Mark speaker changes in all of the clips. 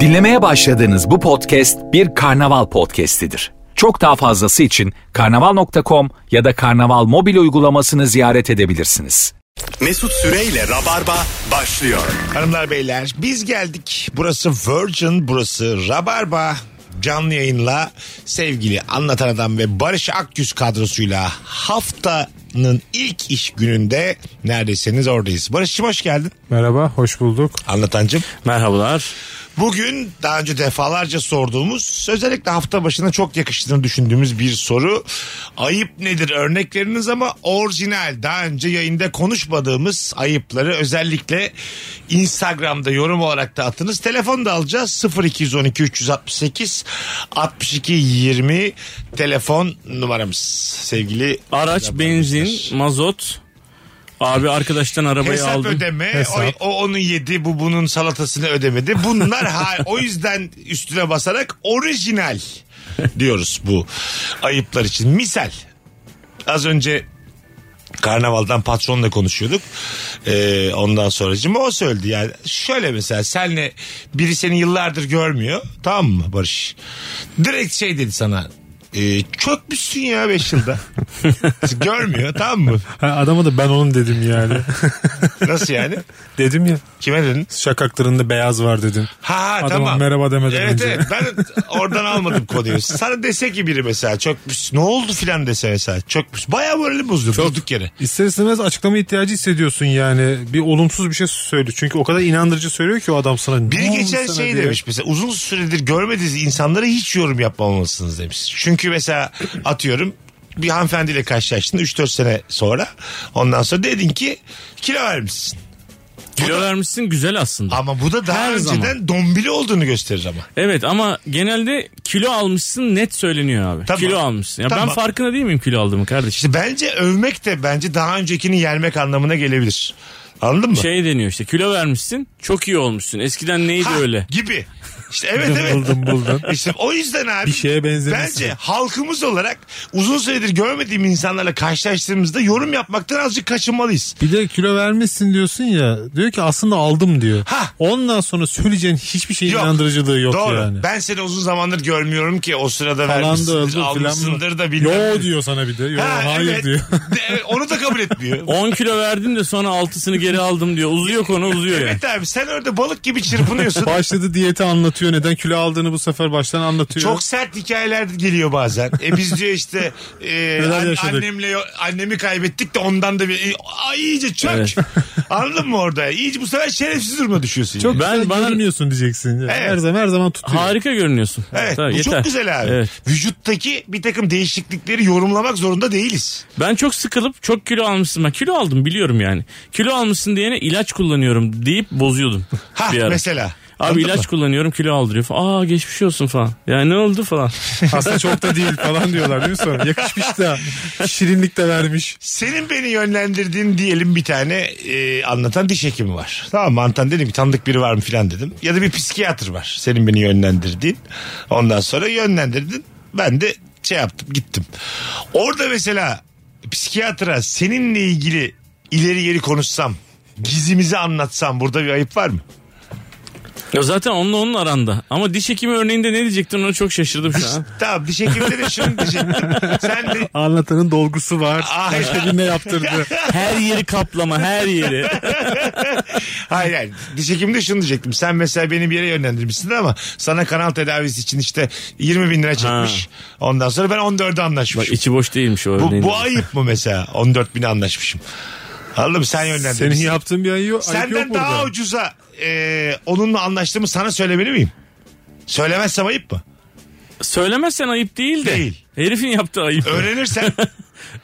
Speaker 1: Dinlemeye başladığınız bu podcast bir karnaval podcastidir. Çok daha fazlası için karnaval.com ya da karnaval mobil uygulamasını ziyaret edebilirsiniz.
Speaker 2: Mesut Süreyle Rabarba başlıyor.
Speaker 3: Hanımlar beyler biz geldik. Burası Virgin, burası Rabarba. Canlı yayınla sevgili Anlatan Adam ve Barış Akgüz kadrosuyla haftanın ilk iş gününde neredesiniz oradayız. Barış'cığım hoş geldin.
Speaker 4: Merhaba, hoş bulduk.
Speaker 3: Anlatancım.
Speaker 5: Merhabalar.
Speaker 3: Bugün daha önce defalarca sorduğumuz özellikle hafta başına çok yakıştığını düşündüğümüz bir soru. Ayıp nedir örnek veriniz ama orijinal daha önce yayında konuşmadığımız ayıpları özellikle Instagram'da yorum olarak da atınız. Telefon da alacağız 0212 368 62 20 telefon numaramız sevgili
Speaker 5: Araç, benzin, mazot. Abi arkadaştan arabayı
Speaker 3: şey- Hesap
Speaker 5: aldım.
Speaker 3: ödeme.
Speaker 4: Hesap.
Speaker 3: O, o onun yedi, bu bunun salatasını ödemedi. Bunlar ha, o yüzden üstüne basarak orijinal diyoruz bu ayıplar için. Misal az önce Karnaval'dan patronla konuşuyorduk. Ee, ondan sonracığım o söyledi yani. Şöyle mesela senle biri seni yıllardır görmüyor. Tamam mı Barış? Direkt şey dedi sana. E, çökmüşsün ya 5 yılda. görmüyor tamam mı?
Speaker 4: Ha, adama da ben onun dedim yani.
Speaker 3: Nasıl yani?
Speaker 4: dedim ya,
Speaker 3: Kime dedin?
Speaker 4: şakaklarında beyaz var dedim.
Speaker 3: Ha
Speaker 4: Adama
Speaker 3: tamam.
Speaker 4: merhaba demeden
Speaker 3: evet,
Speaker 4: önce.
Speaker 3: Evet ben oradan almadım konuyu. Sana dese ki biri mesela çökmüş ne oldu filan dese mesela çökmüş. Baya moralim bozdu durduk yere.
Speaker 4: İster istemez açıklama ihtiyacı hissediyorsun yani. Bir olumsuz bir şey söyle. Çünkü o kadar inandırıcı söylüyor ki o adam sana. "Ne
Speaker 3: Biri
Speaker 4: oldu
Speaker 3: geçen
Speaker 4: sana?"
Speaker 3: şey
Speaker 4: diye.
Speaker 3: demiş mesela uzun süredir görmediğiniz insanlara hiç yorum yapmamalısınız demiş. Çünkü mesela atıyorum bir hanımefendiyle karşılaştın 3-4 sene sonra ondan sonra dedin ki kilo vermişsin.
Speaker 5: Kilo vermişsin güzel aslında.
Speaker 3: Ama bu da daha
Speaker 5: Her
Speaker 3: önceden
Speaker 5: zaman.
Speaker 3: dombili olduğunu gösterir ama.
Speaker 5: Evet ama genelde kilo almışsın net söyleniyor abi.
Speaker 3: Tamam.
Speaker 5: Kilo almışsın. Ya
Speaker 3: Tamam.
Speaker 5: ben farkında değil miyim kilo aldığımı kardeşim?
Speaker 3: İşte bence övmek de bence daha öncekini yermek anlamına gelebilir. Anladın mı?
Speaker 5: Şey deniyor işte kilo vermişsin çok iyi olmuşsun. Eskiden neydi
Speaker 3: Ha,
Speaker 5: öyle?
Speaker 3: Gibi. İşte evet evet.
Speaker 4: Buldum buldum.
Speaker 3: İşte o yüzden abi.
Speaker 4: Bir şeye benzemişsin.
Speaker 3: Bence halkımız olarak uzun süredir görmediğim insanlarla karşılaştığımızda yorum yapmaktan azıcık kaçınmalıyız.
Speaker 4: Bir de kilo vermişsin diyorsun ya. Diyor ki aslında aldım diyor.
Speaker 3: Ha.
Speaker 4: Ondan sonra söyleyeceğin hiçbir şeyin
Speaker 3: Yok.
Speaker 4: inandırıcılığı yok
Speaker 3: Doğru.
Speaker 4: yani.
Speaker 3: Ben seni uzun zamandır görmüyorum ki o sırada
Speaker 4: Falan da öldü
Speaker 3: vermişsindir, almışsındır
Speaker 4: filan.
Speaker 3: da bilmem.
Speaker 4: Yo diyor sana bir de. Yo,
Speaker 3: Ha,
Speaker 4: hayır
Speaker 3: evet.
Speaker 4: diyor.
Speaker 3: De- evet, Onu da kabul etmiyor.
Speaker 5: 10 kilo verdim de sonra 6'sını geri aldım diyor. Uzuyor konu uzuyor yani.
Speaker 3: evet abi sen orada balık gibi çırpınıyorsun.
Speaker 4: Başladı diyeti anlatıyor. Neden kilo aldığını bu sefer baştan anlatıyor.
Speaker 3: Çok sert hikayeler geliyor bazen. E biz diyor işte e,
Speaker 4: Neler
Speaker 3: an-
Speaker 4: yaşadık?
Speaker 3: annemle annemi kaybettik de ondan da bir e, ay iyice çök.
Speaker 5: Evet.
Speaker 3: Anladın mı orada? İyice bu sefer şerefsiz duruma düşüyorsun.
Speaker 4: Çok
Speaker 3: yani.
Speaker 5: Ben-
Speaker 4: ben
Speaker 5: bana-
Speaker 4: bana diyeceksin. Yani
Speaker 3: Evet.
Speaker 4: Her zaman her zaman tutuyor.
Speaker 5: Harika görünüyorsun.
Speaker 3: Evet
Speaker 5: Tamam,
Speaker 3: bu çok güzel abi.
Speaker 5: Evet.
Speaker 3: Vücuttaki bir takım değişiklikleri yorumlamak zorunda değiliz.
Speaker 5: Ben çok sıkılıp çok kilo almışsın. Ben kilo aldım biliyorum yani. Kilo almışsın diyene ilaç kullanıyorum deyip bozuyordum.
Speaker 3: Ha
Speaker 5: bir ara.
Speaker 3: mesela.
Speaker 5: Abi ilaç kullanıyorum kilo aldırıyor falan. Aa geçmiş olsun falan. Ya ne oldu falan.
Speaker 4: Aslında çok da değil falan diyorlar değil mi sonra? Yakışmış da şirinlik de vermiş.
Speaker 3: Senin beni yönlendirdiğin diyelim bir tane e, anlatan diş hekimi var. Tamam mı? Anlatan dedim ki tanıdık biri var mı filan dedim. Ya da bir psikiyatr var. Senin beni yönlendirdiğin. Ondan sonra yönlendirdin. Ben de şey yaptım gittim. Orada mesela psikiyatra seninle ilgili ileri geri konuşsam gizimizi anlatsam burada bir ayıp var mı?
Speaker 5: Ya zaten onunla onun aranda. Ama diş hekimi örneğinde ne diyecektin onu çok şaşırdım şu an.
Speaker 3: Tamam diş hekimine de şunu diyecektim. Sen de
Speaker 4: Anlatanın dolgusu var.
Speaker 3: Ay.
Speaker 4: Başka birine yaptırdı.
Speaker 5: Her yeri kaplama her yeri.
Speaker 3: Hayır hayır. Diş hekimde şunu diyecektim. Sen mesela beni bir yere yönlendirmişsin ama sana kanal tedavisi için işte 20 bin lira çekmiş. Ondan sonra ben 14'e
Speaker 5: Bak
Speaker 3: anlaşmışım.
Speaker 5: içi boş değilmiş o
Speaker 3: bu,
Speaker 5: örneğin.
Speaker 3: bu ayıp mı mesela? 14 bine anlaşmışım. Anladın mı? Sen
Speaker 4: Senin
Speaker 3: yönlendirmişsin.
Speaker 4: yaptığın bir ayı yok. ayıp yok
Speaker 3: Senden
Speaker 4: burada.
Speaker 3: daha ucuza e, onunla anlaştığımı sana söylemeli miyim? Söylemezsem ayıp mı?
Speaker 5: Söylemezsen ayıp değil de.
Speaker 3: Değil.
Speaker 5: Herifin yaptığı ayıp.
Speaker 3: Öğrenirsen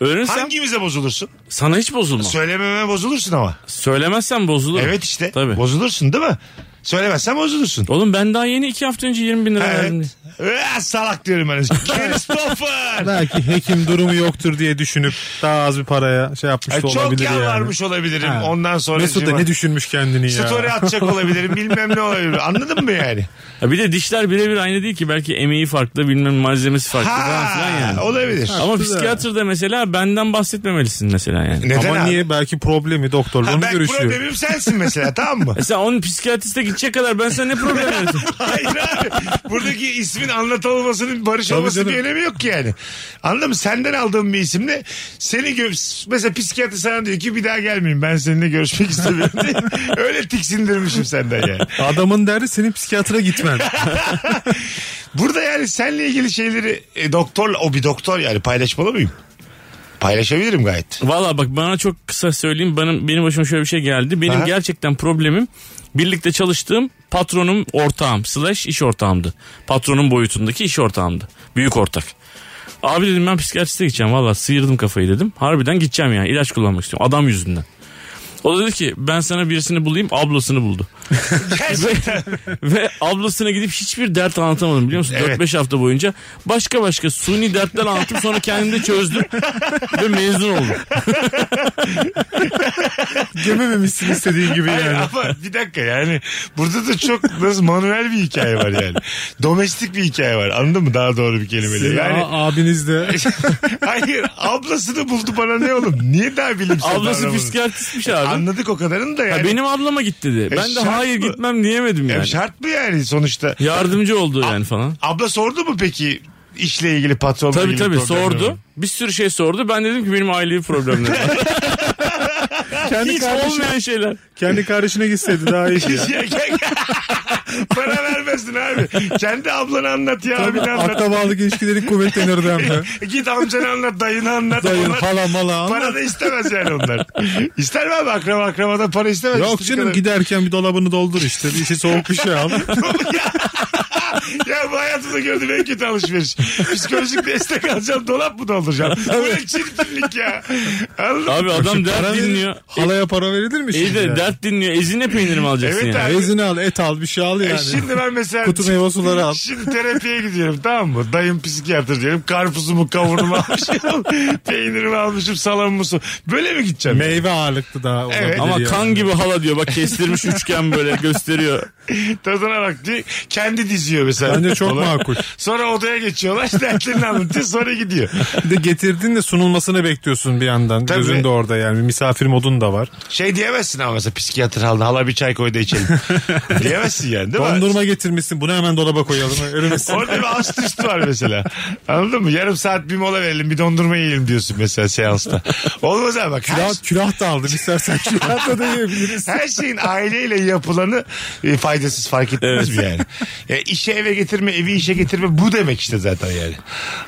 Speaker 5: Öğrensem
Speaker 3: hangimize bozulursun?
Speaker 5: sana hiç bozulma.
Speaker 3: Söylememe bozulursun ama.
Speaker 5: Söylemezsen bozulur.
Speaker 3: Evet işte.
Speaker 5: Tabii.
Speaker 3: Bozulursun değil mi? Söylemezsen bozulursun.
Speaker 5: Oğlum ben daha yeni iki hafta önce 20 bin lira verdim.
Speaker 3: Evet. Ee, salak diyorum ben. Christopher.
Speaker 4: Belki hekim durumu yoktur diye düşünüp daha az bir paraya şey yapmış
Speaker 3: Ay,
Speaker 4: da
Speaker 3: E, çok
Speaker 4: olabilir yani.
Speaker 3: yalvarmış olabilirim.
Speaker 4: Ha.
Speaker 3: Ondan sonra
Speaker 4: Mesut da
Speaker 3: cima-
Speaker 4: ne düşünmüş kendini ya.
Speaker 3: Story atacak olabilirim. Bilmem ne olabilir. Anladın mı yani?
Speaker 5: Ya bir de dişler birebir aynı değil ki. Belki emeği farklı bilmem malzemesi farklı falan filan yani.
Speaker 3: Ha, olabilir.
Speaker 5: Ama
Speaker 4: Haklı da.
Speaker 5: psikiyatrda mesela benden bahsetmemelisin mesela yani.
Speaker 3: Neden
Speaker 4: Ama
Speaker 3: abi?
Speaker 4: niye? Belki problemi doktorla
Speaker 3: Ha,
Speaker 4: onu
Speaker 3: ben
Speaker 4: görüşüyor.
Speaker 3: problemim sensin mesela tamam mı?
Speaker 5: Mesela onun psikiyatriste gidecek kadar ben sana ne problem yaratayım?
Speaker 3: Hayır abi. Buradaki ismin anlatılmasının barış
Speaker 4: Tabii
Speaker 3: olması
Speaker 4: canım.
Speaker 3: bir önemi yok ki yani. Anladın mı? Senden aldığım bir isimle seni gö- mesela psikiyatri sana diyor ki bir daha gelmeyeyim ben seninle görüşmek istemiyorum diye. Öyle tiksindirmişim senden yani.
Speaker 4: Adamın derdi senin psikiyatra gitmen.
Speaker 3: Burada yani seninle ilgili şeyleri e, doktorla o bir doktor yani paylaşmalı mıyım? Paylaşabilirim gayet.
Speaker 5: Valla bak bana çok kısa söyleyeyim. Benim, benim başıma şöyle bir şey geldi. Benim
Speaker 3: Aha.
Speaker 5: gerçekten problemim birlikte çalıştığım patronum ortağım slash iş ortağımdı. Patronun boyutundaki iş ortağımdı. Büyük ortak. Abi dedim ben psikiyatriste gideceğim valla sıyırdım kafayı dedim. Harbiden gideceğim yani ilaç kullanmak istiyorum adam yüzünden. O da dedi ki ben sana birisini bulayım ablasını buldu.
Speaker 3: Gerçekten.
Speaker 5: Ve ablasına gidip hiçbir dert anlatamadım biliyor musun?
Speaker 3: Evet.
Speaker 5: 4-5 hafta boyunca başka başka suni dertler anlattım sonra kendimde çözdüm ve mezun oldum.
Speaker 4: Gömememişsin istediğin gibi
Speaker 3: Hayır
Speaker 4: yani.
Speaker 3: ama bir dakika yani burada da çok nasıl manuel bir hikaye var yani. Domestik bir hikaye var anladın mı daha doğru bir kelimeyle. Yani
Speaker 4: Ya abiniz de.
Speaker 3: Hayır ablasını buldu bana ne oğlum? Niye daha bilimsel
Speaker 5: Ablası
Speaker 3: davranmadın?
Speaker 5: psikiyatristmiş abi.
Speaker 3: Anladık o kadarını da yani.
Speaker 5: Ya benim ablama git dedi. Ben de
Speaker 3: şart
Speaker 5: hayır
Speaker 3: mı?
Speaker 5: gitmem diyemedim
Speaker 3: Ya
Speaker 5: yani.
Speaker 3: Şart mı yani sonuçta?
Speaker 5: Yardımcı oldu yani falan.
Speaker 3: Abla sordu mu peki işle ilgili patronla
Speaker 5: Tabii
Speaker 3: ilgili
Speaker 5: tabii
Speaker 3: problemleri
Speaker 5: sordu.
Speaker 3: mi?
Speaker 5: Bir sürü şey sordu. Ben dedim ki benim ailevi problemlerim var.
Speaker 4: Kendi
Speaker 5: Hiç
Speaker 4: kardeşine,
Speaker 5: olmayan şeyler.
Speaker 4: kendi kardeşine gitseydi daha iyi. Ya.
Speaker 3: Ya gel- Para vermesin abi. Kendi ablanı anlat ya abini anlat.
Speaker 4: Akrabalık ilişkilerin kuvvetlenirdi hem de.
Speaker 3: Git amcanı anlat, dayını anlat.
Speaker 4: Dayın
Speaker 3: Onlar
Speaker 4: hala mala
Speaker 3: Para
Speaker 4: anlat.
Speaker 3: da istemez yani onlar. İster mi abi akraba akrabadan para istemez.
Speaker 4: Yok
Speaker 3: İstediği
Speaker 4: canım
Speaker 3: kadar.
Speaker 4: giderken bir dolabını doldur işte. Bir şey soğuk bir şey al.
Speaker 3: ya bu hayatımda gördüğüm en kötü alışveriş. Psikolojik destek alacağım dolap mı dolduracağım? bu ne çirkinlik ya. Anladın mı?
Speaker 5: Abi adam
Speaker 4: Para
Speaker 5: dert
Speaker 4: verir-
Speaker 5: dinliyor.
Speaker 4: Halaya para verilir mi
Speaker 5: İyi
Speaker 4: şimdi?
Speaker 5: de
Speaker 4: yani?
Speaker 5: dert dinliyor. Ezine peyniri mi alacaksın
Speaker 3: Evet
Speaker 5: yani?
Speaker 3: abi.
Speaker 4: Ezini al, et al, bir şey al yani.
Speaker 3: E şimdi ben mesela
Speaker 4: Kutu meyve suları al.
Speaker 3: Şimdi terapiye gidiyorum tamam mı? Dayım psikiyatr diyorum. Karpuzumu kavurumu almışım. Peynirimi almışım salamımı su. Böyle mi gideceğim?
Speaker 4: Meyve ağırlıklı daha olabilir
Speaker 3: Evet.
Speaker 5: Ama
Speaker 4: yani.
Speaker 5: kan gibi hala diyor. Bak kestirmiş üçgen böyle gösteriyor.
Speaker 3: Tadına bak diye. Kendi diziyor mesela.
Speaker 4: Bence çok makul.
Speaker 3: Sonra odaya geçiyorlar. Dertlerini anlatıyor. Sonra gidiyor.
Speaker 4: Bir de getirdin de sunulmasını bekliyorsun bir yandan.
Speaker 3: Tabii.
Speaker 4: Gözün de orada yani. Bir misafir modun da var.
Speaker 3: Şey diyemezsin ama mesela psikiyatr halına. Hala bir çay koy da içelim. diyemezsin yani değil mi?
Speaker 4: Dondurma getirmişsin. Bunu hemen dolaba koyalım. Ölmesin.
Speaker 3: Orada bir ast üst var mesela. Anladın mı? Yarım saat bir mola verelim bir dondurma yiyelim diyorsun mesela seansta. Olmaz abi bak. Her,
Speaker 4: Külah, külah da aldım. İstersen külah da da yiyebiliriz.
Speaker 3: her şeyin aileyle yapılanı e, faydasız fark etmez mi yani? E, işe eve getirme, evi işe getirme bu demek işte zaten yani.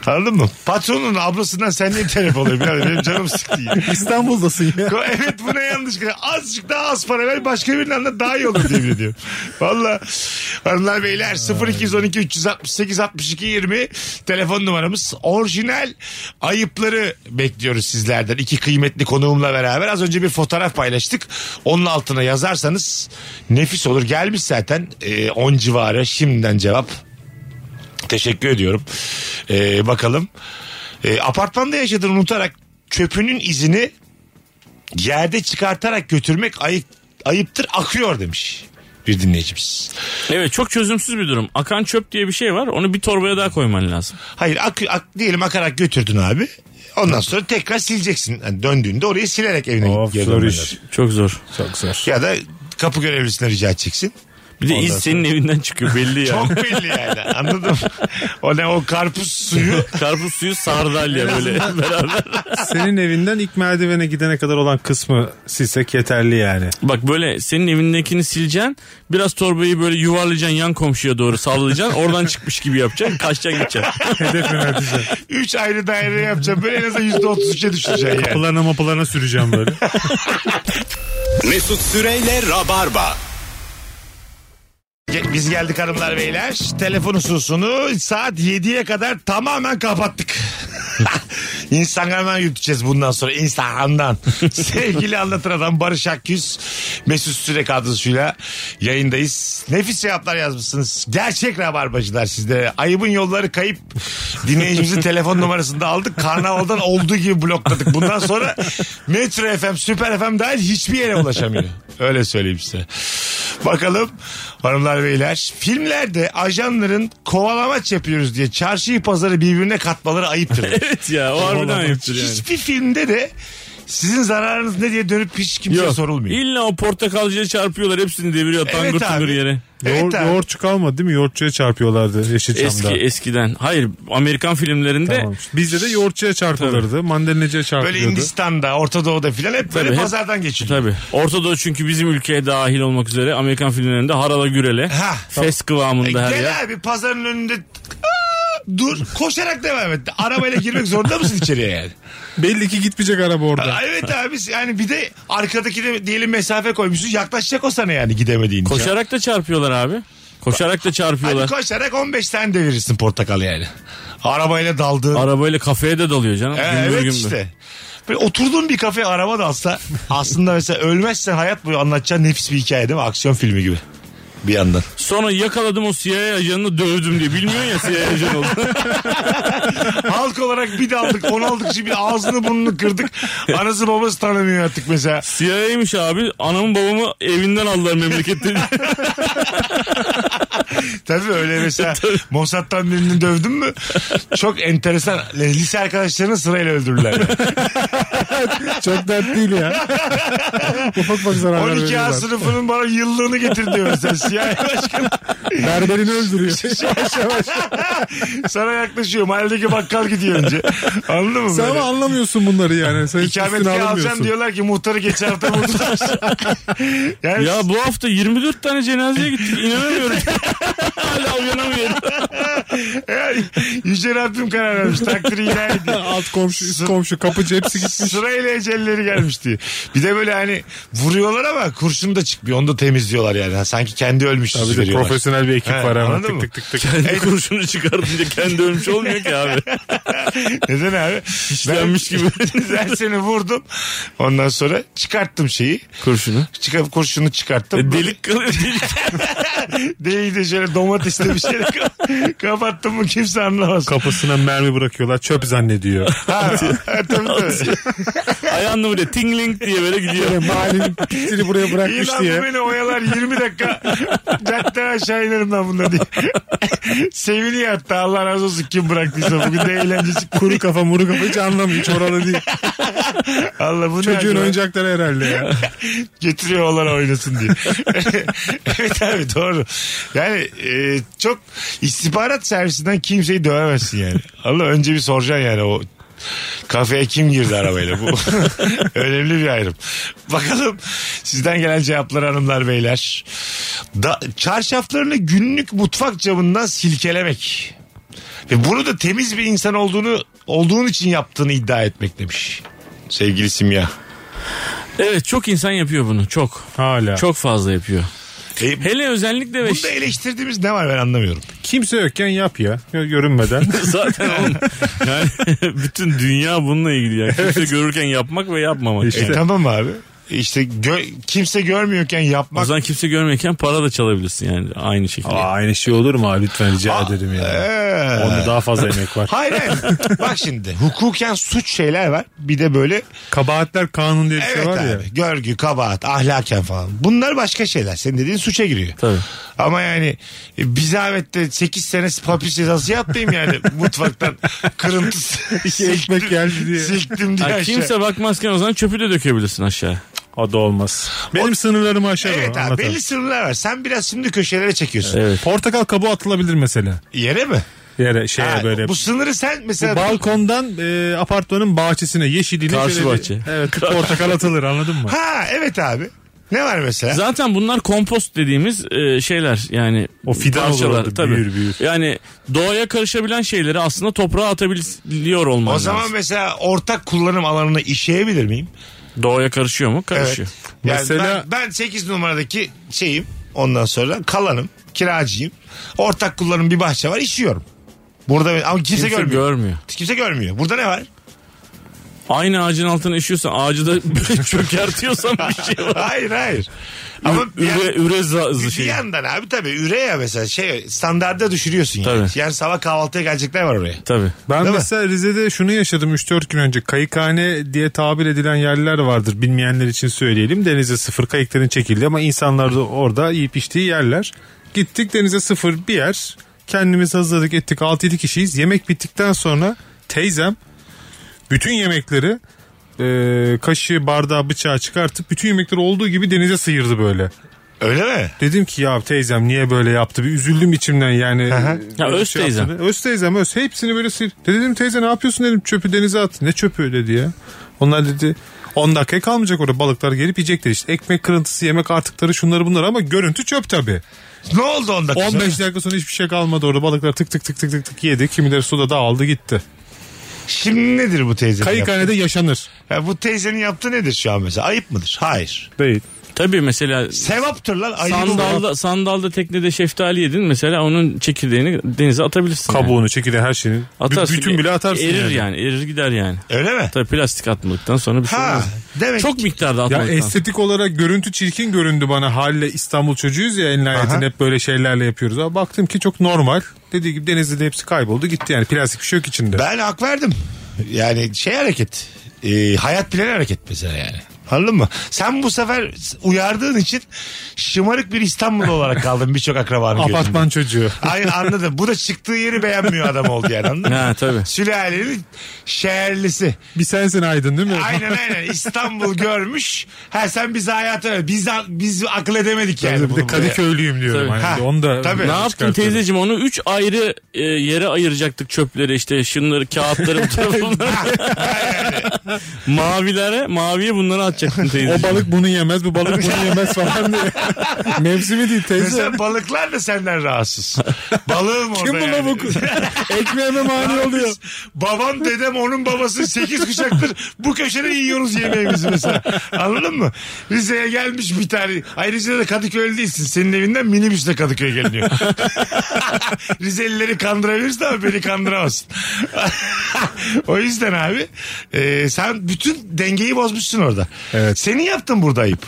Speaker 3: Anladın mı? Patronun ablasından sen niye telef oluyor? Birader benim canım sıktı. ya.
Speaker 4: İstanbul'dasın ya.
Speaker 3: Evet bu ne yanlış. Azıcık daha az para ver başka birinin anlat daha iyi olur diye biliyorum. Valla hanımlar beyler 0212 368 62 20 telefon numaramız. Orijinal ayıpları bekliyoruz sizlerden. İki kıymetli konuğumla beraber az önce bir fotoğraf paylaştık. Onun altına yazarsanız nefis olur. Gelmiş zaten 10 civarı şimdiden cevap. Teşekkür ediyorum. Ee, bakalım. Ee, apartmanda yaşadığını unutarak çöpünün izini yerde çıkartarak götürmek ayıp, ayıptır akıyor demiş bir dinleyicimiz.
Speaker 5: Evet çok çözümsüz bir durum. Akan çöp diye bir şey var. Onu bir torbaya daha koyman lazım.
Speaker 3: Hayır ak, ak- diyelim akarak götürdün abi. Ondan sonra tekrar sileceksin. Yani döndüğünde orayı silerek evine
Speaker 4: Of,
Speaker 3: geri
Speaker 4: zor
Speaker 3: dönmen
Speaker 4: iş.
Speaker 3: lazım.
Speaker 5: Çok zor.
Speaker 4: Çok zor.
Speaker 3: Ya da kapı görevlisine rica edeceksin.
Speaker 5: Bir de
Speaker 3: Ondan
Speaker 5: iz senin evinden çıkıyor belli yani.
Speaker 3: Çok belli yani anladın mı? O ne o karpuz suyu.
Speaker 5: Karpuz suyu sardalya böyle beraber.
Speaker 4: Senin evinden ilk merdivene gidene kadar olan kısmı silsek yeterli yani.
Speaker 5: Bak böyle senin evindekini sileceksin. Biraz torbayı böyle yuvarlayacaksın yan komşuya doğru sallayacaksın. Oradan çıkmış gibi yapacaksın. Kaçacaksın gideceksin.
Speaker 4: Hedef yönelteceğim.
Speaker 3: Üç ayrı daire yapacağım. Böyle en azından yüzde otuz üçe düşeceksin yani.
Speaker 4: E, Kapılarına mapalarına süreceğim böyle.
Speaker 2: Mesut Süreyle Rabarba.
Speaker 3: Ge- Biz geldik hanımlar beyler. Telefon hususunu saat 7'ye kadar tamamen kapattık. Instagram'dan yürüteceğiz bundan sonra. Instagram'dan. Sevgili anlatır adam Barış Akgüz. Mesut Süre kadrosuyla yayındayız. Nefis cevaplar yazmışsınız. Gerçek rabarbacılar sizde. Ayıbın yolları kayıp. Dinleyicimizin telefon numarasını da aldık. Karnaval'dan olduğu gibi blokladık. Bundan sonra Metro FM, Süper FM dahil hiçbir yere ulaşamıyor. Öyle söyleyeyim size. Bakalım hanımlar beyler. Filmlerde ajanların kovalamaç yapıyoruz diye çarşıyı pazarı birbirine katmaları ayıptır.
Speaker 5: evet ya o harbiden ayıptır yani.
Speaker 3: Hiçbir filmde de Sizin zararınız ne diye dönüp hiç kimseye sorulmuyor.
Speaker 5: İlla o portakalcıya çarpıyorlar hepsini deviriyor
Speaker 3: Evet
Speaker 5: tangır tungur
Speaker 3: abi.
Speaker 5: yere.
Speaker 3: Evet
Speaker 4: Yoğur,
Speaker 3: abi.
Speaker 4: yoğurtçu kalmadı değil mi? Yoğurtçuya çarpıyorlardı Yeşilçam'da.
Speaker 5: Eski e, eskiden. Hayır Amerikan filmlerinde
Speaker 4: Tamam. Bizde de yoğurtçuya çarpılırdı. Mandalineciye
Speaker 3: Böyle
Speaker 4: çarpılırdı.
Speaker 3: Hindistan'da, Orta Doğu'da filan hep böyle
Speaker 5: Tabii, hep-
Speaker 3: pazardan geçiliyor.
Speaker 5: Tabii. Orta Doğu çünkü bizim ülkeye dahil olmak üzere Amerikan filmlerinde harala gürele.
Speaker 3: Ha.
Speaker 5: Fes kıvamında
Speaker 3: E,
Speaker 5: her
Speaker 3: gel
Speaker 5: yer.
Speaker 3: abi pazarın önünde Aa, dur koşarak devam et. Arabayla girmek zorunda mısın içeriye yani?
Speaker 4: Belli ki gitmeyecek araba orada.
Speaker 3: Aa, evet abi yani bir de arkadaki de diyelim mesafe koymuşsun yaklaşacak o sana yani gidemediğin için.
Speaker 5: Koşarak da çarpıyorlar abi. Koşarak da
Speaker 3: Hadi
Speaker 5: çarpıyorlar.
Speaker 3: koşarak 15 tane devirirsin portakalı yani. Arabayla daldığın.
Speaker 5: Arabayla kafeye de dalıyor canım.
Speaker 3: Ee,
Speaker 5: Gümbür
Speaker 3: evet
Speaker 5: gümbür.
Speaker 3: işte. Böyle oturduğun bir kafeye araba dalsa aslında mesela ölmezsen hayat boyu anlatacağın nefis bir hikaye değil mi? Aksiyon filmi gibi. Bir yandan.
Speaker 5: Sonra yakaladım o CIA ajanını dövdüm diye. Bilmiyorsun ya CIA ajanı oldu.
Speaker 3: Halk olarak bir daldık, on aldık şimdi ağzını burnunu kırdık. Anası babası tanımıyor artık mesela.
Speaker 5: CIA'ymiş abi. Anamı babamı evinden aldılar memleketten.
Speaker 3: Tabii öyle mesela Mossad'dan birini dövdün mü çok enteresan. Lise arkadaşlarını sırayla öldürürler. yani.
Speaker 4: Çok dert değil ya. Ufak ufak zararlar
Speaker 3: 12 A
Speaker 4: veriyorlar.
Speaker 3: sınıfının bana yıllığını getir diyor mesela. Siyah başkan
Speaker 4: Berberini öldürüyor. yavaş yavaş.
Speaker 3: sana yaklaşıyor. Mahalledeki bakkal gidiyor önce. Anladın mı?
Speaker 4: Sen
Speaker 3: böyle?
Speaker 4: ama anlamıyorsun bunları yani. Sen hiç üstüne
Speaker 3: İkametgah alacağım
Speaker 4: alınmıyorsun.
Speaker 3: diyorlar ki muhtarı geçen hafta buldular. yani
Speaker 5: ya bu hafta 24 tane cenazeye gittik. İnanamıyorum. Hala uyanamıyorum.
Speaker 3: yani Yüce Rabbim karar vermiş. Takdiri ilahi diye.
Speaker 4: Alt komşu, üst komşu, kapıcı hepsi gitmiş.
Speaker 3: Sırayla ecelleri gelmiş diye. Bir de böyle hani vuruyorlar ama kurşun da çıkmıyor. Onu da temizliyorlar yani. Ha, sanki kendi ölmüş
Speaker 4: Tabii de
Speaker 3: veriyorlar.
Speaker 4: profesyonel bir ekip
Speaker 3: He,
Speaker 4: var ama
Speaker 3: anladın
Speaker 4: tık
Speaker 3: mı?
Speaker 4: tık tık tık.
Speaker 5: Kendi kurşunu çıkartınca kendi ölmüş olmuyor ki abi.
Speaker 3: Neden abi?
Speaker 5: İşlenmiş gibi.
Speaker 3: ben seni vurdum. Ondan sonra çıkarttım şeyi.
Speaker 5: Kurşunu.
Speaker 3: Çıkar, kurşunu çıkarttım.
Speaker 5: E, delik kalıyor delik.
Speaker 3: Değildi şöyle domatesle bir şey de ka- kapattım mı kimse anlamaz.
Speaker 4: Kapısına mermi bırakıyorlar. Çöp zannediyor.
Speaker 3: Ha, ha, tabii tabii.
Speaker 5: Ayağını böyle tingling diye böyle gidiyor.
Speaker 4: Böyle E, mahallenin pitini buraya
Speaker 3: İyi
Speaker 4: bırakmış
Speaker 3: lan bu
Speaker 4: diye.
Speaker 3: beni oyalar 20 dakika cadde aşağı inerim ben bununla diye. Seviniyor hatta Allah razı olsun kim bıraktıysa bugün de eğlencesi.
Speaker 4: Kuru kafa muru kafa hiç anlamıyor. Hiç oralı değil.
Speaker 3: Allah bu ne
Speaker 4: Çocuğun
Speaker 3: acaba?
Speaker 4: oyuncakları herhalde ya.
Speaker 3: Getiriyor oğlan oynasın diye. evet abi doğru. Yani e, çok istihbarat servisinden kimseyi dövemezsin yani. Allah önce bir soracaksın yani o kafeye kim girdi arabayla bu. Önemli bir ayrım. Bakalım sizden gelen cevaplar hanımlar beyler. Da, çarşaflarını günlük mutfak camından silkelemek. Ve bunu da temiz bir insan olduğunu olduğun için yaptığını iddia etmek demiş. Sevgili Simya.
Speaker 5: Evet çok insan yapıyor bunu çok.
Speaker 4: Hala.
Speaker 5: Çok fazla yapıyor.
Speaker 3: E,
Speaker 5: Hele özellikle ve
Speaker 3: Bunda eleştirdiğimiz ne var ben anlamıyorum.
Speaker 4: Kimse yokken yap ya. Gö- Görünmeden.
Speaker 5: zaten onun- yani bütün dünya bununla ilgili yani. Kimse görürken yapmak ve yapmamak.
Speaker 4: İşte.
Speaker 3: E, tamam abi. İşte gö- kimse görmüyorken
Speaker 5: O
Speaker 3: yapmak.
Speaker 5: zaman kimse görmeyken para da çalabilirsin yani aynı şekilde.
Speaker 4: Aa, aynı şey olur mu abi? Lütfen rica ederim ya.
Speaker 3: Ee.
Speaker 4: Onda daha fazla emek var.
Speaker 3: Hayır hayır. Bak şimdi hukuken suç şeyler var. Bir de böyle
Speaker 4: Kabahatler kanun diye bir
Speaker 3: evet
Speaker 4: şey var
Speaker 3: abi,
Speaker 4: ya.
Speaker 3: görgü, kabahat, ahlaken falan. Bunlar başka şeyler. Senin dediğin suça giriyor.
Speaker 5: Tabii.
Speaker 3: Ama yani e, bir zahmette 8 sene hapis cezası yattım yani mutfaktan kırıntısı.
Speaker 4: ekmek geldi diye.
Speaker 3: Silktim diye.
Speaker 5: Yani
Speaker 3: aşağı.
Speaker 5: kimse bakmazken o zaman çöpü de dökebilirsin aşağı.
Speaker 4: O da olmaz. Benim sınırlarımı aşar
Speaker 3: Evet
Speaker 4: o.
Speaker 3: abi
Speaker 4: Anlatan.
Speaker 3: belli sınırlar var. Sen biraz şimdi köşelere çekiyorsun.
Speaker 4: Portakal kabuğu atılabilir mesela.
Speaker 3: Yere mi?
Speaker 4: Yere şeye
Speaker 3: Ha,
Speaker 4: böyle.
Speaker 3: Bu sınırı sen mesela
Speaker 4: Balkondan e, apartmanın bahçesine yeşiliyle
Speaker 5: Karşı
Speaker 4: şöyle bir-
Speaker 5: bahçe.
Speaker 4: Evet, portakal atılır anladın mı?
Speaker 3: Ha evet abi. Ne var mesela?
Speaker 5: Zaten bunlar kompost dediğimiz e, şeyler yani
Speaker 4: O fidan olur
Speaker 5: parçalar
Speaker 4: orada,
Speaker 5: tabii.
Speaker 4: büyür, büyür.
Speaker 5: Yani doğaya karışabilen şeyleri aslında toprağa atabiliyor olman
Speaker 3: o zaman
Speaker 5: lazım.
Speaker 3: mesela ortak kullanım alanını işleyebilir miyim?
Speaker 5: Doğaya karışıyor mu? Karışıyor.
Speaker 3: Yani
Speaker 4: Mesela-
Speaker 3: ben, ben 8 numaradaki şeyim ondan sonra kalanım, kiracıyım. Ortak kullanım bir bahçe var işiyorum. Burada ama kimse,
Speaker 5: Kimse
Speaker 3: görmüyor.
Speaker 5: görmüyor.
Speaker 3: kimse görmüyor. Burada ne var?
Speaker 5: Aynı ağacın altına işiyorsan ağacı da böyle çökertiyorsan bir şey var.
Speaker 3: Hayır hayır. Ama
Speaker 5: Üre,
Speaker 3: yani-
Speaker 5: üre za-
Speaker 3: bir
Speaker 5: şey.
Speaker 3: yandan abi tabii üreya mesela şey standarda düşürüyorsun yani.
Speaker 5: Tabii.
Speaker 3: Yani sabah kahvaltıya gelecekler var oraya.
Speaker 5: Tabii.
Speaker 4: Ben
Speaker 3: Değil mi?
Speaker 4: mesela Rize'de şunu yaşadım 3-4 gün önce. Kayıkhane diye tabir edilen yerler vardır. Bilmeyenler için söyleyelim. Denize sıfır kayıkların çekildi ama insanlar da orada yiyip içtiği yerler. Gittik denize sıfır bir yer. Kendimiz hazırladık ettik 6-7 kişiyiz. Yemek bittikten sonra teyzem bütün yemekleri e, kaşığı, bardağı, bıçağı çıkartıp bütün yemekleri olduğu gibi denize sıyırdı böyle.
Speaker 3: Öyle mi?
Speaker 4: Dedim ki ya teyzem niye böyle yaptı? Bir üzüldüm içimden yani.
Speaker 3: hı.
Speaker 4: Böyle şey
Speaker 5: Ya öz teyzem.
Speaker 4: yaptığını. Öz teyzem öz. Hepsini böyle sil. Dedim teyze ne yapıyorsun dedim. Çöpü denize at. Ne çöpü dedi ya. Onlar dedi 10 dakika kalmayacak orada balıklar gelip yiyecekler işte. Ekmek kırıntısı, yemek artıkları şunları bunlar ama görüntü çöp tabii.
Speaker 3: Ne oldu onda?
Speaker 4: 15 dakika sonra hiçbir şey kalmadı orada. Balıklar tık tık tık tık tık tık yedi. Kimileri suda dağıldı gitti.
Speaker 3: Şimdi nedir bu teyzenin yaptığı?
Speaker 4: Kayıkhanede yaşanır.
Speaker 3: Ya bu teyzenin yaptığı nedir şu an mesela? Ayıp mıdır? Hayır.
Speaker 4: Değil.
Speaker 5: Tabii mesela
Speaker 3: Sevaptır lan ayıp.
Speaker 5: sandalda, sandalda teknede şeftali yedin mesela onun çekirdeğini denize atabilirsin. yani.
Speaker 4: Kabuğunu, çekirdeği her şeyini. bü-
Speaker 5: Atarsın,
Speaker 4: bütün bile atarsın.
Speaker 5: Erir yani. erir gider yani.
Speaker 3: Öyle mi?
Speaker 5: Tabii plastik atmadıktan sonra bir şey
Speaker 3: Ha.
Speaker 5: olmaz.
Speaker 3: Demek
Speaker 5: Çok miktarda
Speaker 4: Ya
Speaker 5: atmadıktan
Speaker 4: estetik olarak görüntü çirkin göründü bana. Haliyle İstanbul çocuğuyuz ya en nihayetinde hep böyle şeylerle yapıyoruz. Ama baktım ki çok normal. Dediği gibi denizde de hepsi kayboldu gitti yani. Plastik bir şey yok içinde.
Speaker 3: ben hak verdim. Yani şey hareket. e, hayat planı hareket mesela yani. Anladın mı? Sen bu sefer uyardığın için şımarık bir İstanbul olarak kaldın birçok akrabanın gözünde.
Speaker 4: Apartman çocuğu.
Speaker 3: Hayır anladım. Bu da çıktığı yeri beğenmiyor adam oldu yani anladın mı?
Speaker 5: Ha, tabii.
Speaker 3: Sülalenin şehirlisi.
Speaker 4: Bir sensin aydın değil mi?
Speaker 3: Aynen aynen İstanbul görmüş. Ha sen bizi hayata öyle. Biz, biz akıl edemedik yani.
Speaker 4: Bir de
Speaker 3: bunu buraya.
Speaker 4: Kadıköylüyüm diyorum.
Speaker 5: Tabii.
Speaker 4: Yani.
Speaker 3: Ha,
Speaker 4: Onu da
Speaker 3: tabii.
Speaker 5: Ne yaptın
Speaker 4: çıkartıyorum.
Speaker 5: teyzeciğim onu üç ayrı e, yere ayıracaktık çöpleri işte şunları kağıtları bu tarafa bunları. Mavilere maviye bunları atacaktın
Speaker 4: O
Speaker 5: teyzeciğim.
Speaker 4: balık bunu yemez, bu balık bunu yemez falan diye. Mevsimi değil teyze.
Speaker 3: Mesela balıklar da senden rahatsız. Balığım orada
Speaker 4: Kim bu
Speaker 3: yani.
Speaker 4: lavuk? Ekmeğime mani oluyor.
Speaker 3: Babam dedem onun babası 8 kuşaktır. Bu köşede yiyoruz yemeğimizi mesela. Anladın mı? Rize'ye gelmiş bir tane. Ay Rize'de de Kadıköy'lü değilsin. Senin evinden minibüsle Kadıköy'e geliniyor. Rizelileri kandırabilirsin ama beni kandıramazsın. o yüzden abi e, sen bütün dengeyi bozmuşsun orada.
Speaker 4: Evet.
Speaker 3: Senin yaptın burada ayıp.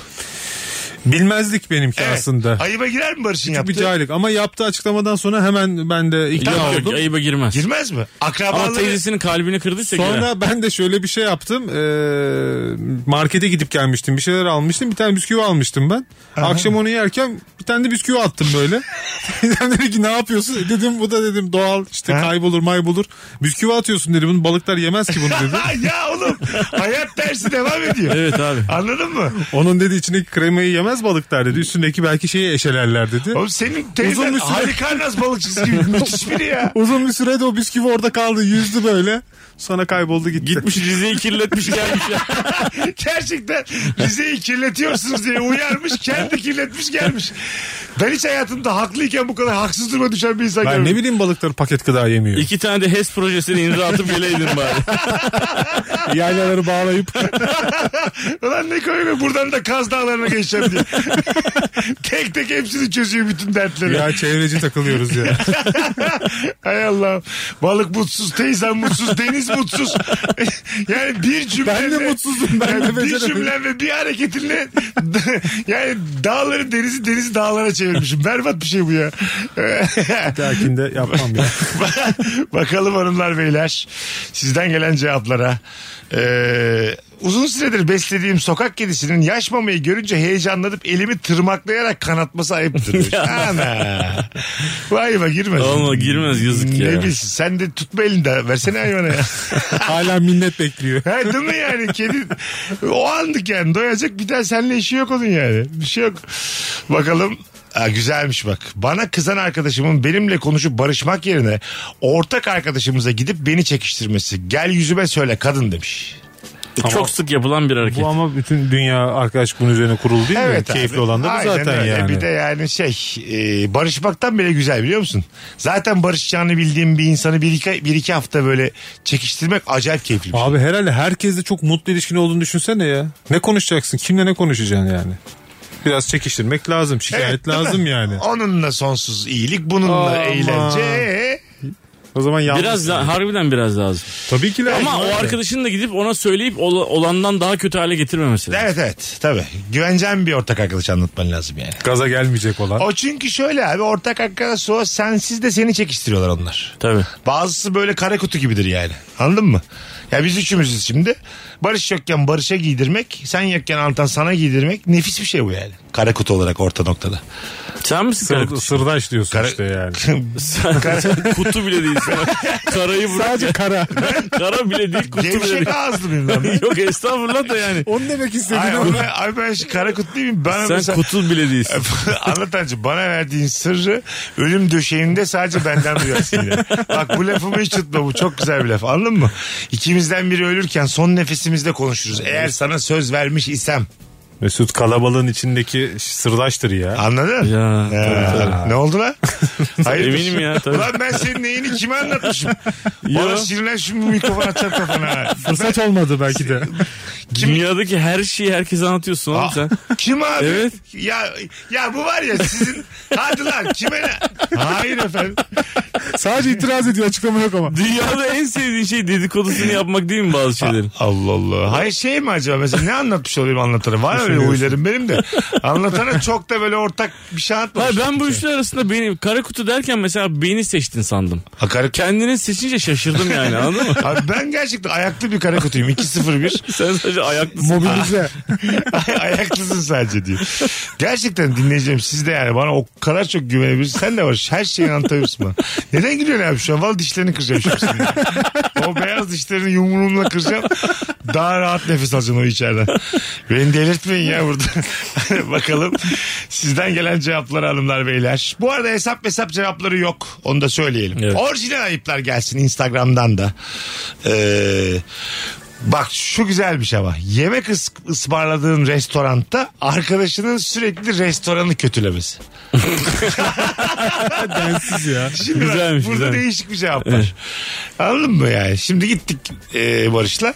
Speaker 4: Bilmezlik benimki aslında.
Speaker 3: Ayıba girer mi Barış'ın
Speaker 4: Küçük bir
Speaker 3: yaptığı?
Speaker 4: cahillik ama yaptığı açıklamadan sonra hemen ben de
Speaker 5: Yok,
Speaker 4: ikna
Speaker 5: yok,
Speaker 4: oldum.
Speaker 5: ayıba girmez.
Speaker 3: Girmez mi?
Speaker 5: Ama
Speaker 3: Akrabaları
Speaker 5: teyzesinin kalbini kırdıysa girer.
Speaker 4: Sonra ben de şöyle bir şey yaptım. Ee, markete gidip gelmiştim. Bir şeyler almıştım. Bir tane bisküvi almıştım ben. Akşam onu yerken bir tane de bisküvi attım böyle. Teyzem dedi ki ne yapıyorsun? E Dedim bu da dedim doğal işte
Speaker 3: Ha.
Speaker 4: kaybolur maybolur. Bisküvi atıyorsun dedi. Bunu balıklar yemez ki bunu dedi.
Speaker 3: Ha, ya oğlum hayat dersi devam ediyor.
Speaker 5: Evet abi.
Speaker 3: Anladın mı?
Speaker 4: Onun dedi içindeki kremayı yemez balıklar dedi. Üstündeki belki şeyi eşelerler dedi.
Speaker 3: Oğlum senin teyzen
Speaker 4: Uzun bir
Speaker 3: Uzun
Speaker 4: süre-
Speaker 3: Halikarnas balıkçısı gibi müthiş biri ya.
Speaker 4: Uzun bir sürede o bisküvi orada kaldı. Yüzdü böyle. Sonra kayboldu gitti.
Speaker 5: Gitmiş Rize'yi kirletmiş gelmiş ya.
Speaker 3: Gerçekten Rize'yi kirletiyorsunuz diye uyarmış. Kendi kirletmiş gelmiş. Ben hiç hayatımda haklıyken bu kadar haksız duruma düşen bir insan
Speaker 4: Ben ne
Speaker 3: görmedim.
Speaker 4: bileyim balıkları paket gıda yemiyor.
Speaker 5: İki tane de HES projesini imza atıp geleydin bari.
Speaker 4: Yaylaları bağlayıp
Speaker 3: Ulan ne koyuyor buradan da Kaz Dağları'na geçeceğim diye. tek tek hepsini çözüyor bütün dertleri.
Speaker 4: ya çevreci takılıyoruz ya.
Speaker 3: Hay Allah. Balık mutsuz, teyzem mutsuz, deniz mutsuz. yani bir cümle
Speaker 4: Ben de mutsuzum, ben de
Speaker 3: bir
Speaker 4: beceremiyorum.
Speaker 3: cümle ve bir hareketinle yani dağları denizi denizi dağlara çevirmişim. Berbat bir şey bu ya.
Speaker 4: Lakin de yapmam ya.
Speaker 3: Bakalım hanımlar beyler. Sizden gelen cevaplara. Ee, uzun süredir beslediğim sokak kedisinin yaş mamayı görünce heyecanlanıp elimi tırmaklayarak kanatması ayıptır. demiş. Ana. Vay be girmez.
Speaker 5: Ama girmez, yazık ya.
Speaker 3: Ne bilsin sen de tutma elinde versene hayvana ya.
Speaker 4: Hala minnet bekliyor.
Speaker 3: Ha, değil mi yani kedi o andık yani doyacak bir daha seninle işi yok onun yani bir şey yok. Bakalım Ha, güzelmiş bak. Bana kızan arkadaşımın benimle konuşup barışmak yerine ortak arkadaşımıza gidip beni çekiştirmesi. Gel yüzüme söyle kadın demiş.
Speaker 5: Çok sık yapılan bir hareket.
Speaker 4: Bu ama bütün dünya arkadaş bunun üzerine kuruldu değil mi?
Speaker 3: abi.
Speaker 4: Keyifli olan da bu
Speaker 3: Aynen
Speaker 4: zaten
Speaker 3: öyle.
Speaker 4: yani.
Speaker 3: Bir de yani şey e, barışmaktan bile güzel biliyor musun? Zaten barışacağını bildiğim bir insanı bir iki, bir iki hafta böyle çekiştirmek acayip keyifli bir şey.
Speaker 4: Abi herhalde herkesle çok mutlu ilişkin olduğunu düşünsene ya. Ne konuşacaksın? Kimle ne konuşacaksın yani? Biraz çekiştirmek lazım. Şikayet
Speaker 3: Evet, değil mi?
Speaker 4: lazım yani.
Speaker 3: Onunla sonsuz iyilik bununla
Speaker 4: Aman.
Speaker 3: eğlence. Ee,
Speaker 4: O zaman yalnız.
Speaker 5: Biraz la- harbiden biraz lazım.
Speaker 4: Tabii ki lazım.
Speaker 5: Ama o
Speaker 4: abi.
Speaker 5: arkadaşın da gidip ona söyleyip ol- olandan daha kötü hale getirmemesi lazım.
Speaker 3: Evet evet tabii. Güveneceğin bir ortak arkadaş anlatman lazım yani.
Speaker 4: Gaza gelmeyecek olan.
Speaker 3: O çünkü şöyle abi ortak arkadaş o sensiz de seni çekiştiriyorlar onlar.
Speaker 5: Tabii.
Speaker 3: Bazısı böyle kara kutu gibidir yani. Anladın mı? Ya biz üçümüzüz şimdi. Barış yokken Barış'a giydirmek, sen yokken Antan sana giydirmek nefis bir şey bu yani. Kara kutu olarak orta noktada.
Speaker 5: Sen misin
Speaker 4: Sır-
Speaker 5: kara kutusu?
Speaker 4: sırdaş diyorsun
Speaker 3: Kara-
Speaker 4: işte yani.
Speaker 5: kutu bile değilsin. Bak, Karayı bırak.
Speaker 4: Sadece kara.
Speaker 5: Kara bile değil kutu bile
Speaker 3: Gevşek
Speaker 5: değil.
Speaker 3: ağızlı mıyım ben?
Speaker 5: Yok estağfurullah da yani.
Speaker 4: Onu demek
Speaker 3: Ay,
Speaker 4: istediğini
Speaker 3: ama ben, abi ben şu kara kutlu muyum? Bana
Speaker 5: Sen
Speaker 3: mesela...
Speaker 5: kutu bile değilsin.
Speaker 3: Anlatancı bana verdiğin sırrı ölüm döşeğinde sadece benden duyarsın yine. Bak bu lafımı hiç tutma bu çok güzel bir laf anladın mı? İkimizden biri ölürken son nefesimizde konuşuruz. Eğer sana söz vermiş isem
Speaker 4: Mesut kalabalığın içindeki sırdaştır ya.
Speaker 3: anladın?
Speaker 5: Ya,
Speaker 3: Ee,
Speaker 5: tabii,
Speaker 3: Ne oldu lan? Hayırdır?
Speaker 5: Eminim ya, tabii.
Speaker 3: Ulan ben senin neyini kime anlatmışım? Bana
Speaker 5: Yo.
Speaker 3: sinirlen şimdi bu mikrofon atacağım kafana.
Speaker 4: Fırsat olmadı belki de.
Speaker 5: Dünyadaki her şeyi herkese anlatıyorsun
Speaker 4: Ah.
Speaker 5: oğlum sen.
Speaker 3: Aa, Ah, Kim abi?
Speaker 5: Evet.
Speaker 3: Ya ya bu var ya sizin hadi lan kime ne? Hayır efendim.
Speaker 4: Sadece itiraz ediyor açıklama yok ama.
Speaker 5: Dünyada en sevdiğin şey dedikodusunu yapmak değil mi
Speaker 4: Ah.
Speaker 5: bazı şeylerin?
Speaker 3: Allah Allah. Hayır şey mi acaba mesela ne anlatmış olayım anlatana? Var öyle huylarım benim de. Anlatana çok da böyle ortak bir şey
Speaker 5: Hayır
Speaker 3: anlatmamış.
Speaker 5: ben bu üçlü arasında beni kara kutu derken mesela beni seçtin sandım.
Speaker 3: Hakaret.
Speaker 5: Kendini seçince şaşırdım yani anladın mı?
Speaker 3: Abi ben gerçekten ayaklı bir kara kutuyum. 2-0-1.
Speaker 5: Sen sadece ayaklısın.
Speaker 4: Mobilize.
Speaker 3: Ay- Ayaklısın sadece diyor. Gerçekten dinleyeceğim siz de yani bana o kadar çok güvenebilirsin. Sen de var her şeyi anlatabilirsin bana. Neden gülüyorsun abi şu an? Vallahi dişlerini kıracağım şimdi. senin. o beyaz dişlerini yumruğumla kıracağım. Daha rahat nefes alacaksın o içeriden. Beni delirtmeyin ya burada. Bakalım sizden gelen cevaplar hanımlar beyler. Bu arada hesap hesap cevapları yok. Onu da söyleyelim.
Speaker 5: Evet.
Speaker 3: Orijinal ayıplar gelsin Instagram'dan da. Ee, Bak şu güzelmiş ama yemek ıs- ısmarladığın restoranda arkadaşının sürekli restoranı kötülemesi.
Speaker 4: Densiz ya.
Speaker 3: Şimdi bak,
Speaker 5: Güzelmiş,
Speaker 3: burada
Speaker 5: güzelmiş.
Speaker 3: değişik bir cevap var. Anladın mı yani? Şimdi gittik e, Barış'la.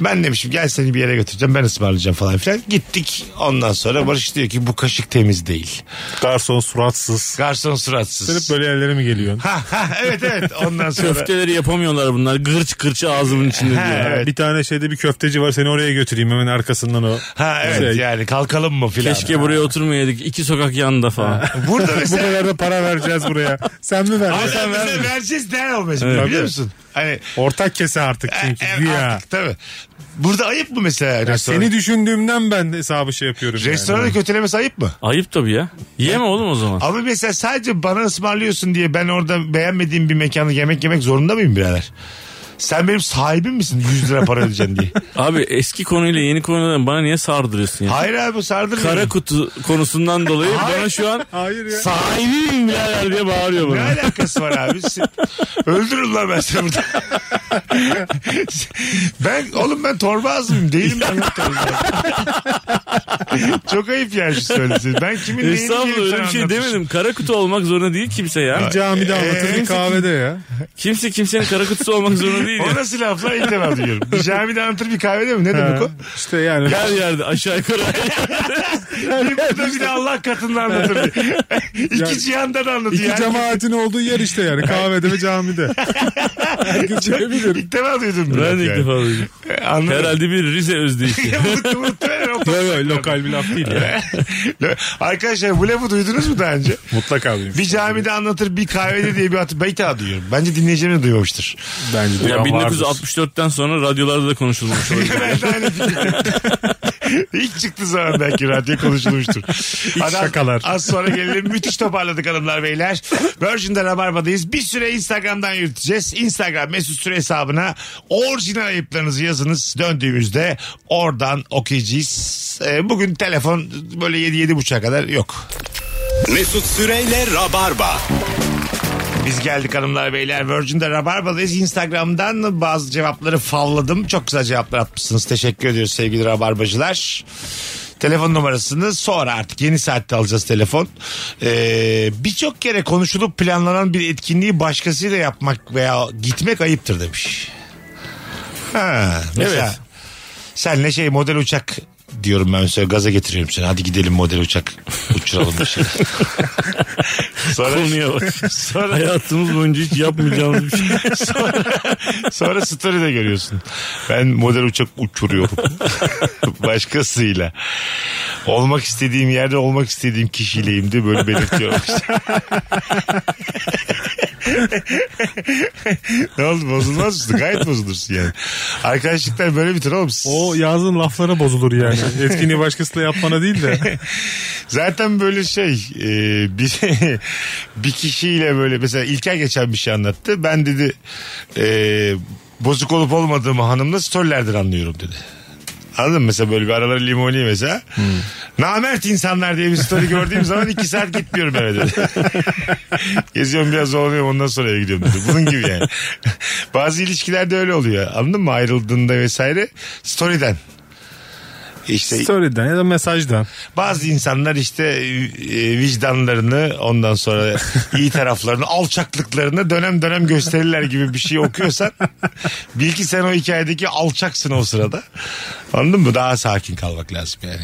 Speaker 3: Ben demişim gel seni bir yere götüreceğim ben ısmarlayacağım falan filan. Gittik ondan sonra Barış diyor ki bu kaşık temiz değil.
Speaker 4: Garson suratsız.
Speaker 3: Garson
Speaker 4: Sen
Speaker 3: suratsız.
Speaker 4: hep böyle yerlere mi geliyorsun?
Speaker 3: Ha, ha, evet evet ondan sonra.
Speaker 5: Köfteleri yapamıyorlar bunlar. Gırç gırç ağzımın içinde diyor.
Speaker 3: Ee, evet.
Speaker 4: Bir tane şeyde bir köfteci var seni oraya götüreyim hemen arkasından o.
Speaker 3: Ha evet
Speaker 4: Şey,
Speaker 3: yani kalkalım mı filan.
Speaker 5: Keşke buraya oturmayaydık. İki sokak yanında falan.
Speaker 3: Burada
Speaker 4: Bu
Speaker 3: mesela
Speaker 4: kadar da para vereceğiz buraya. Sen mi
Speaker 3: Ama
Speaker 4: ver?
Speaker 3: sen bize vereceğiz der o mesela biliyor
Speaker 4: Tabii.
Speaker 3: musun? Hani
Speaker 4: Ortak kese artık çünkü.
Speaker 3: E, e,
Speaker 4: güya.
Speaker 3: artık tabii. Burada ayıp mı mesela
Speaker 4: Ya
Speaker 3: restoran?
Speaker 4: seni düşündüğümden ben hesabı şey yapıyorum. yani.
Speaker 3: Restorana kötülemesi ayıp mı?
Speaker 5: Ayıp tabii ya. Yeme oğlum o zaman.
Speaker 3: Ama mesela sadece bana ısmarlıyorsun diye ben orada beğenmediğim bir mekanda yemek yemek zorunda mıyım birader? Sen benim sahibim misin 100 lira para ödeyeceksin diye?
Speaker 5: Abi eski konuyla yeni konudan bana niye sardırıyorsun ya?
Speaker 3: Hayır abi sardırmıyor.
Speaker 5: Kara kutu konusundan dolayı bana şu an
Speaker 4: Hayır ya.
Speaker 5: sahibim birader diye bağırıyor
Speaker 3: Ne
Speaker 5: bana.
Speaker 3: alakası var abi? Sen- Öldürün lan ben seni burada. ben oğlum ben torba ağzıyım değilim ben lan torba ağzı. Çok ayıp yani şu söylesiniz. Ben kimin neyini
Speaker 5: Estağfurullah
Speaker 3: gelip sana
Speaker 5: öyle bir şey
Speaker 3: anlatmışım?
Speaker 5: demedim. Kara kutu olmak zorunda değil kimse ya.
Speaker 4: Bir camide
Speaker 3: Ee,
Speaker 4: anlatır bir kahvede ya.
Speaker 5: Kimse kimsenin kara kutusu olmak zorunda değil
Speaker 3: O
Speaker 5: ya.
Speaker 3: nasıl laflar ilk defa duyuyorum. Bir camide anlatır bir kahvede mi? Ne demek o?
Speaker 4: İşte yani.
Speaker 5: Her yerde aşağı yukarı.
Speaker 3: Bir burada bir de Allah katında anlatır. diye. İki
Speaker 4: Yani-
Speaker 3: cihanda da anlatıyor.
Speaker 4: İki
Speaker 3: Herkes-
Speaker 4: cemaatin olduğu yer işte yani kahvede ve camide. Herkes bilebilir.
Speaker 3: İlk defa duydum. bu
Speaker 5: ben
Speaker 3: lafı
Speaker 5: de ilk
Speaker 3: yani.
Speaker 5: defa duydum.
Speaker 3: E, Anladım.
Speaker 5: Herhalde bir Rize özdeyişi.
Speaker 3: Mutlu mutlu ver o-
Speaker 4: Yok yok lokal bir laf değil ya.
Speaker 3: Arkadaşlar bu lafı duydunuz mu daha önce?
Speaker 4: Mutlaka duymuş.
Speaker 3: Bir camide anlatır bir kahvede diye bir atı. Ben ilk defa duyuyorum. Bence dinleyicilerim de duymamıştır.
Speaker 4: Bence de
Speaker 5: ya 1964'ten sonra radyolarda da konuşulmuş olabilir.
Speaker 3: ben de aynı fikirdeyim. İlk çıktı zaman belki radyo konuşulmuştur.
Speaker 4: İlk şakalar.
Speaker 3: Az sonra gelelim. Müthiş toparladık hanımlar beyler. Virgin'de Rabarba'dayız. Bir süre Instagram'dan yürüteceğiz. Instagram mesut süre hesabına orijinal ayıplarınızı yazınız. Döndüğümüzde oradan okuyacağız. Ee, Bugün telefon böyle 7-7.30'a kadar yok.
Speaker 2: Mesut Süreyle Rabarba.
Speaker 3: Biz geldik hanımlar beyler. Virgin'de Rabarba'dayız. Instagram'dan bazı cevapları favladım. Çok güzel cevaplar atmışsınız. Teşekkür ediyoruz sevgili Rabarbacılar. Telefon numarasını sonra artık yeni saatte alacağız telefon. Ee, Birçok kere konuşulup planlanan bir etkinliği başkasıyla yapmak veya gitmek ayıptır demiş. Ha, mesela
Speaker 5: Evet.
Speaker 3: senle şey model uçak diyorum ben mesela gaza getiriyorum seni. Hadi gidelim model uçak uçuralım bir şey. Sonra,
Speaker 5: Konuya bak.
Speaker 3: sonra,
Speaker 5: Hayatımız boyunca hiç yapmayacağımız bir şey.
Speaker 3: sonra story'de görüyorsun. Ben model uçak uçuruyorum. Başkasıyla. Olmak istediğim yerde olmak istediğim kişiyleyim de böyle belirtiyorum. ne oldu bozulmaz mısın? Gayet bozulursun yani. Arkadaşlıklar böyle bitir oğlum.
Speaker 4: O yazdığın laflara bozulur yani. Etkinliği başkasıyla yapmana değil de.
Speaker 3: Zaten böyle şey e, bir bir kişiyle böyle mesela İlker geçen bir şey anlattı. Ben dedi e, bozuk olup olmadığımı hanımla storylerden anlıyorum dedi. Anladın mı? Mesela böyle bir araları limoni mesela. Namert insanlar diye bir story gördüğüm zaman iki saat gitmiyorum eve dedi. Geziyorum biraz zorluyorum ondan sonra eve gidiyorum dedi. Bunun gibi yani. Bazı ilişkilerde öyle oluyor. Anladın mı? Ayrıldığında vesaire storyden. İşte
Speaker 4: Story'den ya da mesajdan.
Speaker 3: bazı insanlar işte e, vicdanlarını ondan sonra iyi taraflarını alçaklıklarını dönem dönem gösterirler gibi bir şey okuyorsan bil ki sen o hikayedeki alçaksın o sırada. Anladın mı? Daha sakin kalmak lazım yani.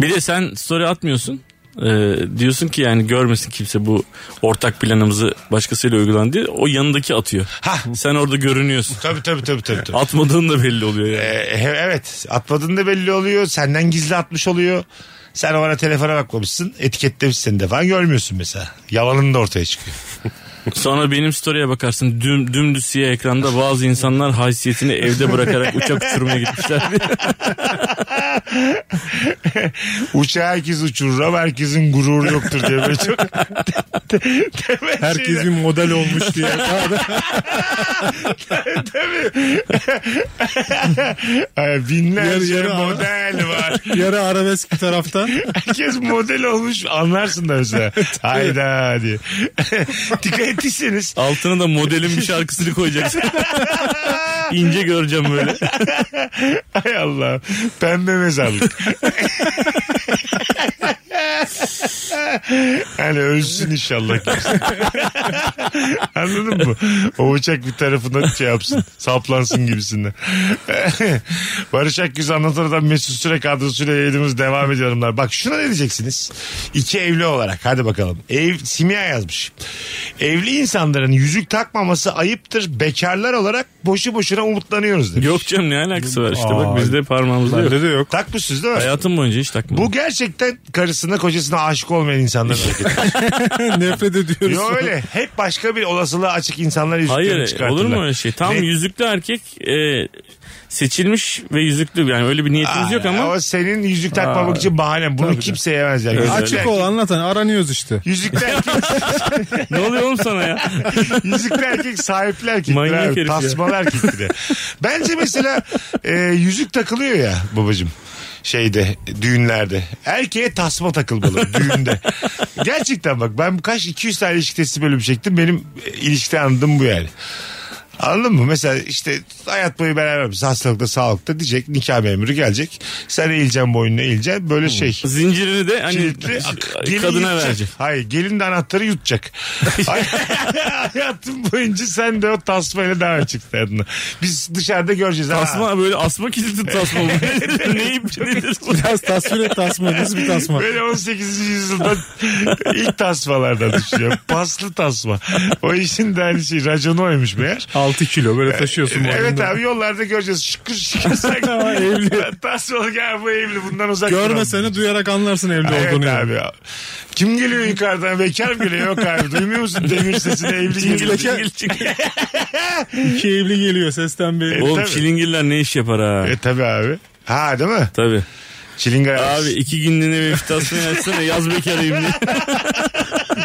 Speaker 5: Bir de sen story atmıyorsun. Ee, diyorsun ki yani görmesin kimse bu ortak planımızı başkasıyla uygulan diye. O yanındaki atıyor.
Speaker 3: Hah.
Speaker 5: Sen orada görünüyorsun.
Speaker 3: Tabii tabii tabii tabii. tabii.
Speaker 5: Atmadığın da belli oluyor yani.
Speaker 3: Ee, he- evet atmadığın da belli oluyor. Senden gizli atmış oluyor. Sen ona telefona bakmamışsın. Etiketlemişsin de falan görmüyorsun mesela. Yalanın da ortaya çıkıyor.
Speaker 5: Sonra benim story'e bakarsın düm, dümdüz siyah ekranda bazı insanlar haysiyetini evde bırakarak uçak uçurmaya gitmişler.
Speaker 3: Uçağı herkes uçurur ama herkesin gururu yoktur diye böyle çok temel
Speaker 4: Herkes
Speaker 3: şeyler.
Speaker 4: bir model olmuş diye.
Speaker 3: Ay, binlerce
Speaker 4: Yarı yarı ama.
Speaker 3: Ee, model var.
Speaker 4: Yarı arabesk bir taraftan.
Speaker 3: Herkes model olmuş anlarsın da mesela. Hayda diye. Dikkat ettiyseniz
Speaker 5: Altına da modelin bir şarkısını koyacaksın. İnce göreceğim böyle.
Speaker 3: hay Allah pembe mezarlık. hani ölsün inşallah kimse. Anladın mı? O uçak bir tarafından şey yapsın. Saplansın gibisinden. Barış Akgüz anlatan adam Mesut Süre kadrosuyla yayınımız devam ediyor hanımlar. Bak şuna ne diyeceksiniz? İki evli olarak hadi bakalım. Ev, Simya yazmış. Evli insanların yüzük takmaması ayıptır. Bekarlar olarak boşu boşuna umutlanıyoruz demiş.
Speaker 5: Yok canım ne alakası var işte
Speaker 4: Aa,
Speaker 5: bak bizde parmağımızda yok.
Speaker 4: Bende de yok.
Speaker 3: Takmışsınız değil mi?
Speaker 5: Hayatım boyunca hiç takmadım.
Speaker 3: Bu gerçekten karısına kocasına aşık olmayan insanların hareketi.
Speaker 4: Nefret ediyoruz.
Speaker 3: Yok öyle. Hep başka bir olasılığa açık insanlar yüzüklerini
Speaker 5: Hayır
Speaker 3: çıkartırlar.
Speaker 5: olur mu öyle şey? Tam
Speaker 3: Ne-
Speaker 5: yüzüklü erkek e, seçilmiş ve yüzüklü yani öyle bir niyetimiz
Speaker 3: Aa,
Speaker 5: yok ama
Speaker 3: O senin yüzük takmamak için bahanen. Bunu kimse yemez yani. Yüzükler-
Speaker 4: Açık ol anlatan aranıyoruz işte.
Speaker 3: Yüzükler erkek,
Speaker 5: ne oluyor oğlum sana ya?
Speaker 3: yüzükler erkek sahipli erkektir
Speaker 5: Manyak
Speaker 3: abi.
Speaker 5: herif ya.
Speaker 3: Tasmalı erkektir de. Bence mesela e, yüzük takılıyor ya babacım şeyde düğünlerde. Erkeğe tasma takılmalı düğünde. Gerçekten bak ben kaç 200 tane ilişki testi bölümü çektim. Benim e, ilişkiden anladığım bu yani. Anladın mı? Mesela işte hayat boyu beraber biz hastalıkta sağlıkta diyecek nikah memuru gelecek. Sen eğileceksin boynuna eğileceksin böyle
Speaker 5: Hmm.
Speaker 3: şey.
Speaker 5: Zincirini de hani
Speaker 3: Kilitli gelin
Speaker 5: kadına
Speaker 3: yutacak.
Speaker 5: verecek.
Speaker 3: Hayır gelin de anahtarı yutacak. Hay- Hayatın boyunca sen de o tasmayla devam edeceksin hayatına. Biz dışarıda göreceğiz. ha.
Speaker 5: Tasma böyle asma kilitli tasma. bu. ne ip nedir bu?
Speaker 4: Biraz tasvir et tasma. Nasıl bir tasma?
Speaker 3: Böyle 18. yüzyıldan ilk tasmalardan düşünüyorum. Paslı tasma. O işin de aynı şey. Raconu oymuş meğer.
Speaker 4: 6 kilo böyle taşıyorsun.
Speaker 3: Evet
Speaker 4: boynunda.
Speaker 3: abi yollarda göreceğiz. Şıkır şıkır.
Speaker 4: Ama evli.
Speaker 3: Tasmalı gel bu evli bundan uzak. duralım.
Speaker 4: Görmeseni duyarak anlarsın evli
Speaker 3: Evet
Speaker 4: olduğunu.
Speaker 3: abi. ya. Kim geliyor yukarıdan? Bekar mı geliyor? Yok abi. Duymuyor musun demir sesini? Evli geliyor.
Speaker 5: Çilingir, çilingir.
Speaker 4: İki evli geliyor sesten bir.
Speaker 3: E,
Speaker 5: Oğlum
Speaker 3: tabii.
Speaker 5: çilingirler ne iş yapar ha?
Speaker 3: E tabi abi. Ha değil mi?
Speaker 5: Tabii.
Speaker 3: Çilingir
Speaker 5: Abi iki günlüğüne bir fitasını yazsana yaz bekarıyım diye.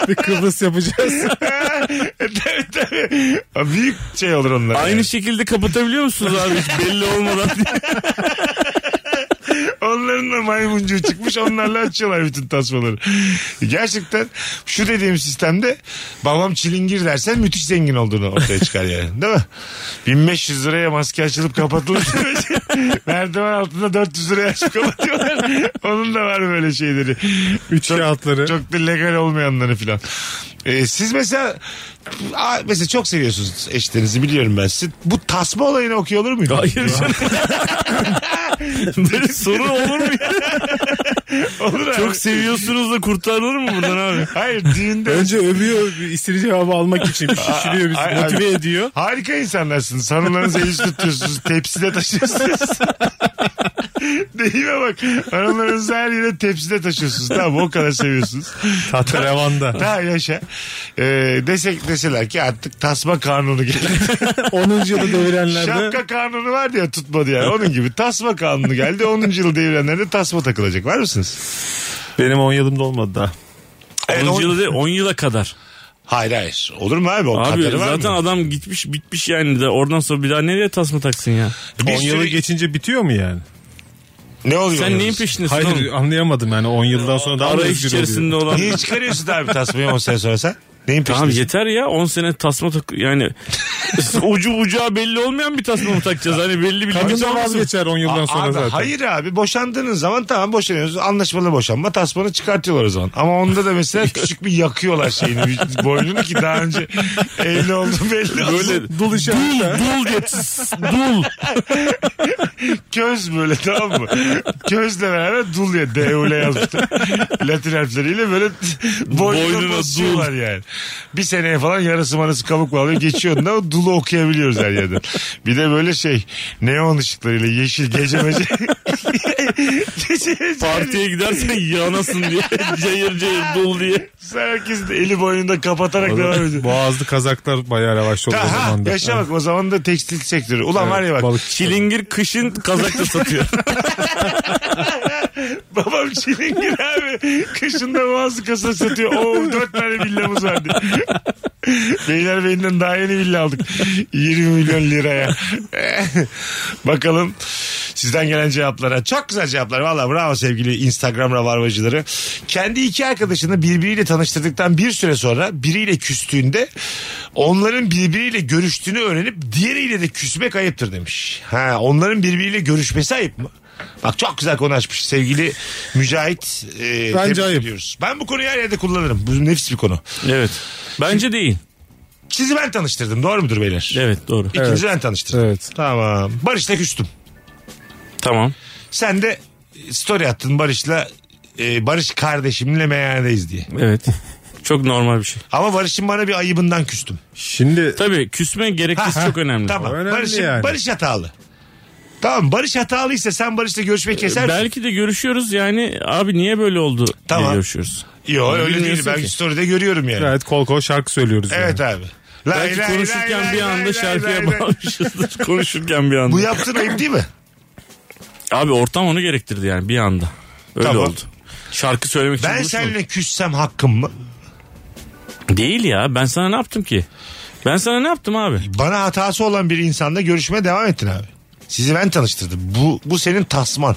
Speaker 4: bir Kıbrıs yapacağız.
Speaker 3: tabii tabii. Abi, Büyük şey olur onlar.
Speaker 5: Aynı şekilde kapatabiliyor musunuz abi hiç belli olmadan diye.
Speaker 3: Onların da maymuncuğu çıkmış onlarla açıyorlar bütün tasmaları. Gerçekten şu dediğim sistemde babam çilingir dersen müthiş zengin olduğunu ortaya çıkar yani. Değil mi? 1500 liraya maske açılıp kapatılmış. Merdiven altında 400 liraya açıp kapatıyorlar. Onun da var böyle şeyleri.
Speaker 4: Üç kağıtları.
Speaker 3: Çok da legal olmayanları filan. Ee, siz mesela Aa, mesela çok seviyorsunuz eşlerinizi biliyorum ben. Siz bu tasma olayını okuyor olur muydu?
Speaker 5: Hayır canım. Böyle soru olur mu ya?
Speaker 3: Olur abi.
Speaker 5: Çok seviyorsunuz da kurtarılır mı buradan abi?
Speaker 3: Hayır düğünde.
Speaker 4: Önce övüyor bir istiri cevabı almak için şişiriyor
Speaker 3: Ay,
Speaker 4: bizi
Speaker 3: ay.
Speaker 4: motive ediyor.
Speaker 3: Harika insanlarsınız. Hanımlarınızı el tutuyorsunuz. Tepside taşıyorsunuz. Deyime bak. Hanımlarınızı her yere tepside taşıyorsunuz. Tamam o kadar seviyorsunuz.
Speaker 4: Tahta revanda.
Speaker 3: Daha yaşa. Ee, desek deseler ki artık tasma kanunu geldi.
Speaker 4: 10. yılı devirenlerde
Speaker 3: Şapka kanunu var ya tutmadı yani. Onun gibi tasma kanunu geldi. 10. yıl devrilenlerde tasma takılacak. Var mısınız?
Speaker 4: benim 10 yılımda olmadı daha.
Speaker 5: 10
Speaker 3: on-
Speaker 5: yıla değil 10 yıla kadar.
Speaker 3: Hayır hayır. Olur mu abi? O
Speaker 5: Abi
Speaker 3: kadarı var
Speaker 5: zaten
Speaker 3: mı?
Speaker 5: adam gitmiş bitmiş yani de oradan sonra bir daha nereye tasma taksın ya?
Speaker 3: Bir
Speaker 4: 10 yılı
Speaker 3: sürü-
Speaker 4: geçince bitiyor mu yani?
Speaker 3: Ne oluyor?
Speaker 5: Sen neyin
Speaker 3: yalnız?
Speaker 5: peşindesin
Speaker 4: Hayır
Speaker 5: oğlum?
Speaker 4: anlayamadım yani 10 yıldan sonra daha
Speaker 5: Arayış içerisinde olan.
Speaker 3: Niye çıkarıyorsun abi tasmayı 10 sene sonra sen? Neyin
Speaker 5: Tamam
Speaker 3: peşindesin?
Speaker 5: yeter ya 10 sene tasma tak yani ucu bucağı belli olmayan bir tasma mı takacağız? Hani belli bir
Speaker 4: Kadın
Speaker 5: limit
Speaker 4: da
Speaker 5: olmasın.
Speaker 4: vazgeçer 10 yıldan sonra
Speaker 3: abi,
Speaker 4: zaten.
Speaker 3: Hayır abi boşandığınız zaman tamam boşanıyorsunuz. Anlaşmalı boşanma tasmanı çıkartıyorlar o zaman. Ama onda da mesela küçük bir yakıyorlar şeyini vüc- boynunu ki daha önce evli oldu belli Böyle
Speaker 5: Böyle
Speaker 4: Dul işareti.
Speaker 5: dul diye tıs, dul.
Speaker 3: köz böyle tamam mı? Közle beraber dul ya devle yazmışlar. Latin harfleriyle böyle boynunu
Speaker 5: Boynuna
Speaker 3: basıyorlar yani. Bir seneye falan yarısı marası kabuk bağlıyor. Geçiyor da o dulu okuyabiliyoruz her yerden. Bir de böyle şey neon ışıklarıyla yeşil gece mece. Gece mece.
Speaker 5: Partiye gidersen yanasın diye. Cayır cayır dul diye.
Speaker 3: Herkes de eli boynunda kapatarak devam ediyor.
Speaker 4: Boğazlı kazaklar bayağı revaçta oluyor o
Speaker 3: Ha,
Speaker 4: zaman da.
Speaker 3: yaşa bak o zaman da tekstil sektörü. Ulan var ya bak
Speaker 4: Balık.
Speaker 5: Çilingir kışın kazakla satıyor.
Speaker 3: babam çilingir abi. Kışında bazı kasa satıyor. Oo dört tane villamız vardı. Beyler beyinden daha yeni villa aldık. 20 milyon liraya. Bakalım sizden gelen cevaplara. Çok güzel cevaplar. Valla bravo sevgili Instagram ravarvacıları. Kendi iki arkadaşını birbiriyle tanıştırdıktan bir süre sonra biriyle küstüğünde onların birbiriyle görüştüğünü öğrenip diğeriyle de küsmek ayıptır demiş. Ha, onların birbiriyle görüşmesi ayıp mı? Bak çok güzel konu açmış sevgili Mücahit. E, tebrik
Speaker 4: ayıp.
Speaker 3: ediyoruz. Ben bu konuyu her yerde kullanırım. Bu nefis bir konu.
Speaker 5: evet. Bence değil.
Speaker 3: Sizi ben tanıştırdım doğru mudur beyler?
Speaker 5: Evet doğru.
Speaker 3: İkinizi ben tanıştırdım.
Speaker 4: Evet.
Speaker 3: Tamam. Barış'la küstüm.
Speaker 5: Tamam.
Speaker 3: Sen de story attın Barış'la e, Barış kardeşimle meyhanedeyiz diye.
Speaker 5: Evet. Çok normal bir şey.
Speaker 3: Ama Barış'ın bana bir ayıbından küstüm.
Speaker 4: Şimdi
Speaker 5: Tabii küsme gerekçesi
Speaker 3: Ha, ha.
Speaker 5: çok önemli.
Speaker 3: Tamam.
Speaker 4: Önemli
Speaker 3: Barış'ın-
Speaker 4: yani.
Speaker 3: Barış hatalı. Tamam Barış hatalıysa sen Barış'la görüşmeyi keser misin?
Speaker 5: E, Belki de görüşüyoruz yani abi niye böyle oldu
Speaker 3: Tamam.
Speaker 5: diye görüşüyoruz.
Speaker 3: Yok öyle değil.
Speaker 5: Bilmiyorsun
Speaker 3: Ben
Speaker 5: ki.
Speaker 3: story'de görüyorum yani.
Speaker 4: gayet kol kol şarkı söylüyoruz yani.
Speaker 3: Evet abi. Lay
Speaker 5: Belki
Speaker 3: lay lay
Speaker 5: konuşurken
Speaker 3: lay
Speaker 5: bir
Speaker 3: lay
Speaker 5: anda
Speaker 3: lay
Speaker 5: şarkıya
Speaker 3: lay lay.
Speaker 5: bağlamışızdır konuşurken bir anda.
Speaker 3: Bu yaptığın ayıp değil mi?
Speaker 5: Abi ortam onu gerektirdi yani bir anda. Öyle
Speaker 3: Tamam.
Speaker 5: oldu. Şarkı söylemek için
Speaker 3: Ben
Speaker 5: buluşmadık.
Speaker 3: seninle küssem hakkım mı?
Speaker 5: Değil ya ben sana ne yaptım ki? Ben sana ne yaptım abi?
Speaker 3: Bana hatası olan bir insanla görüşmeye devam ettin abi. Sizi ben tanıştırdım. Bu bu senin tasman.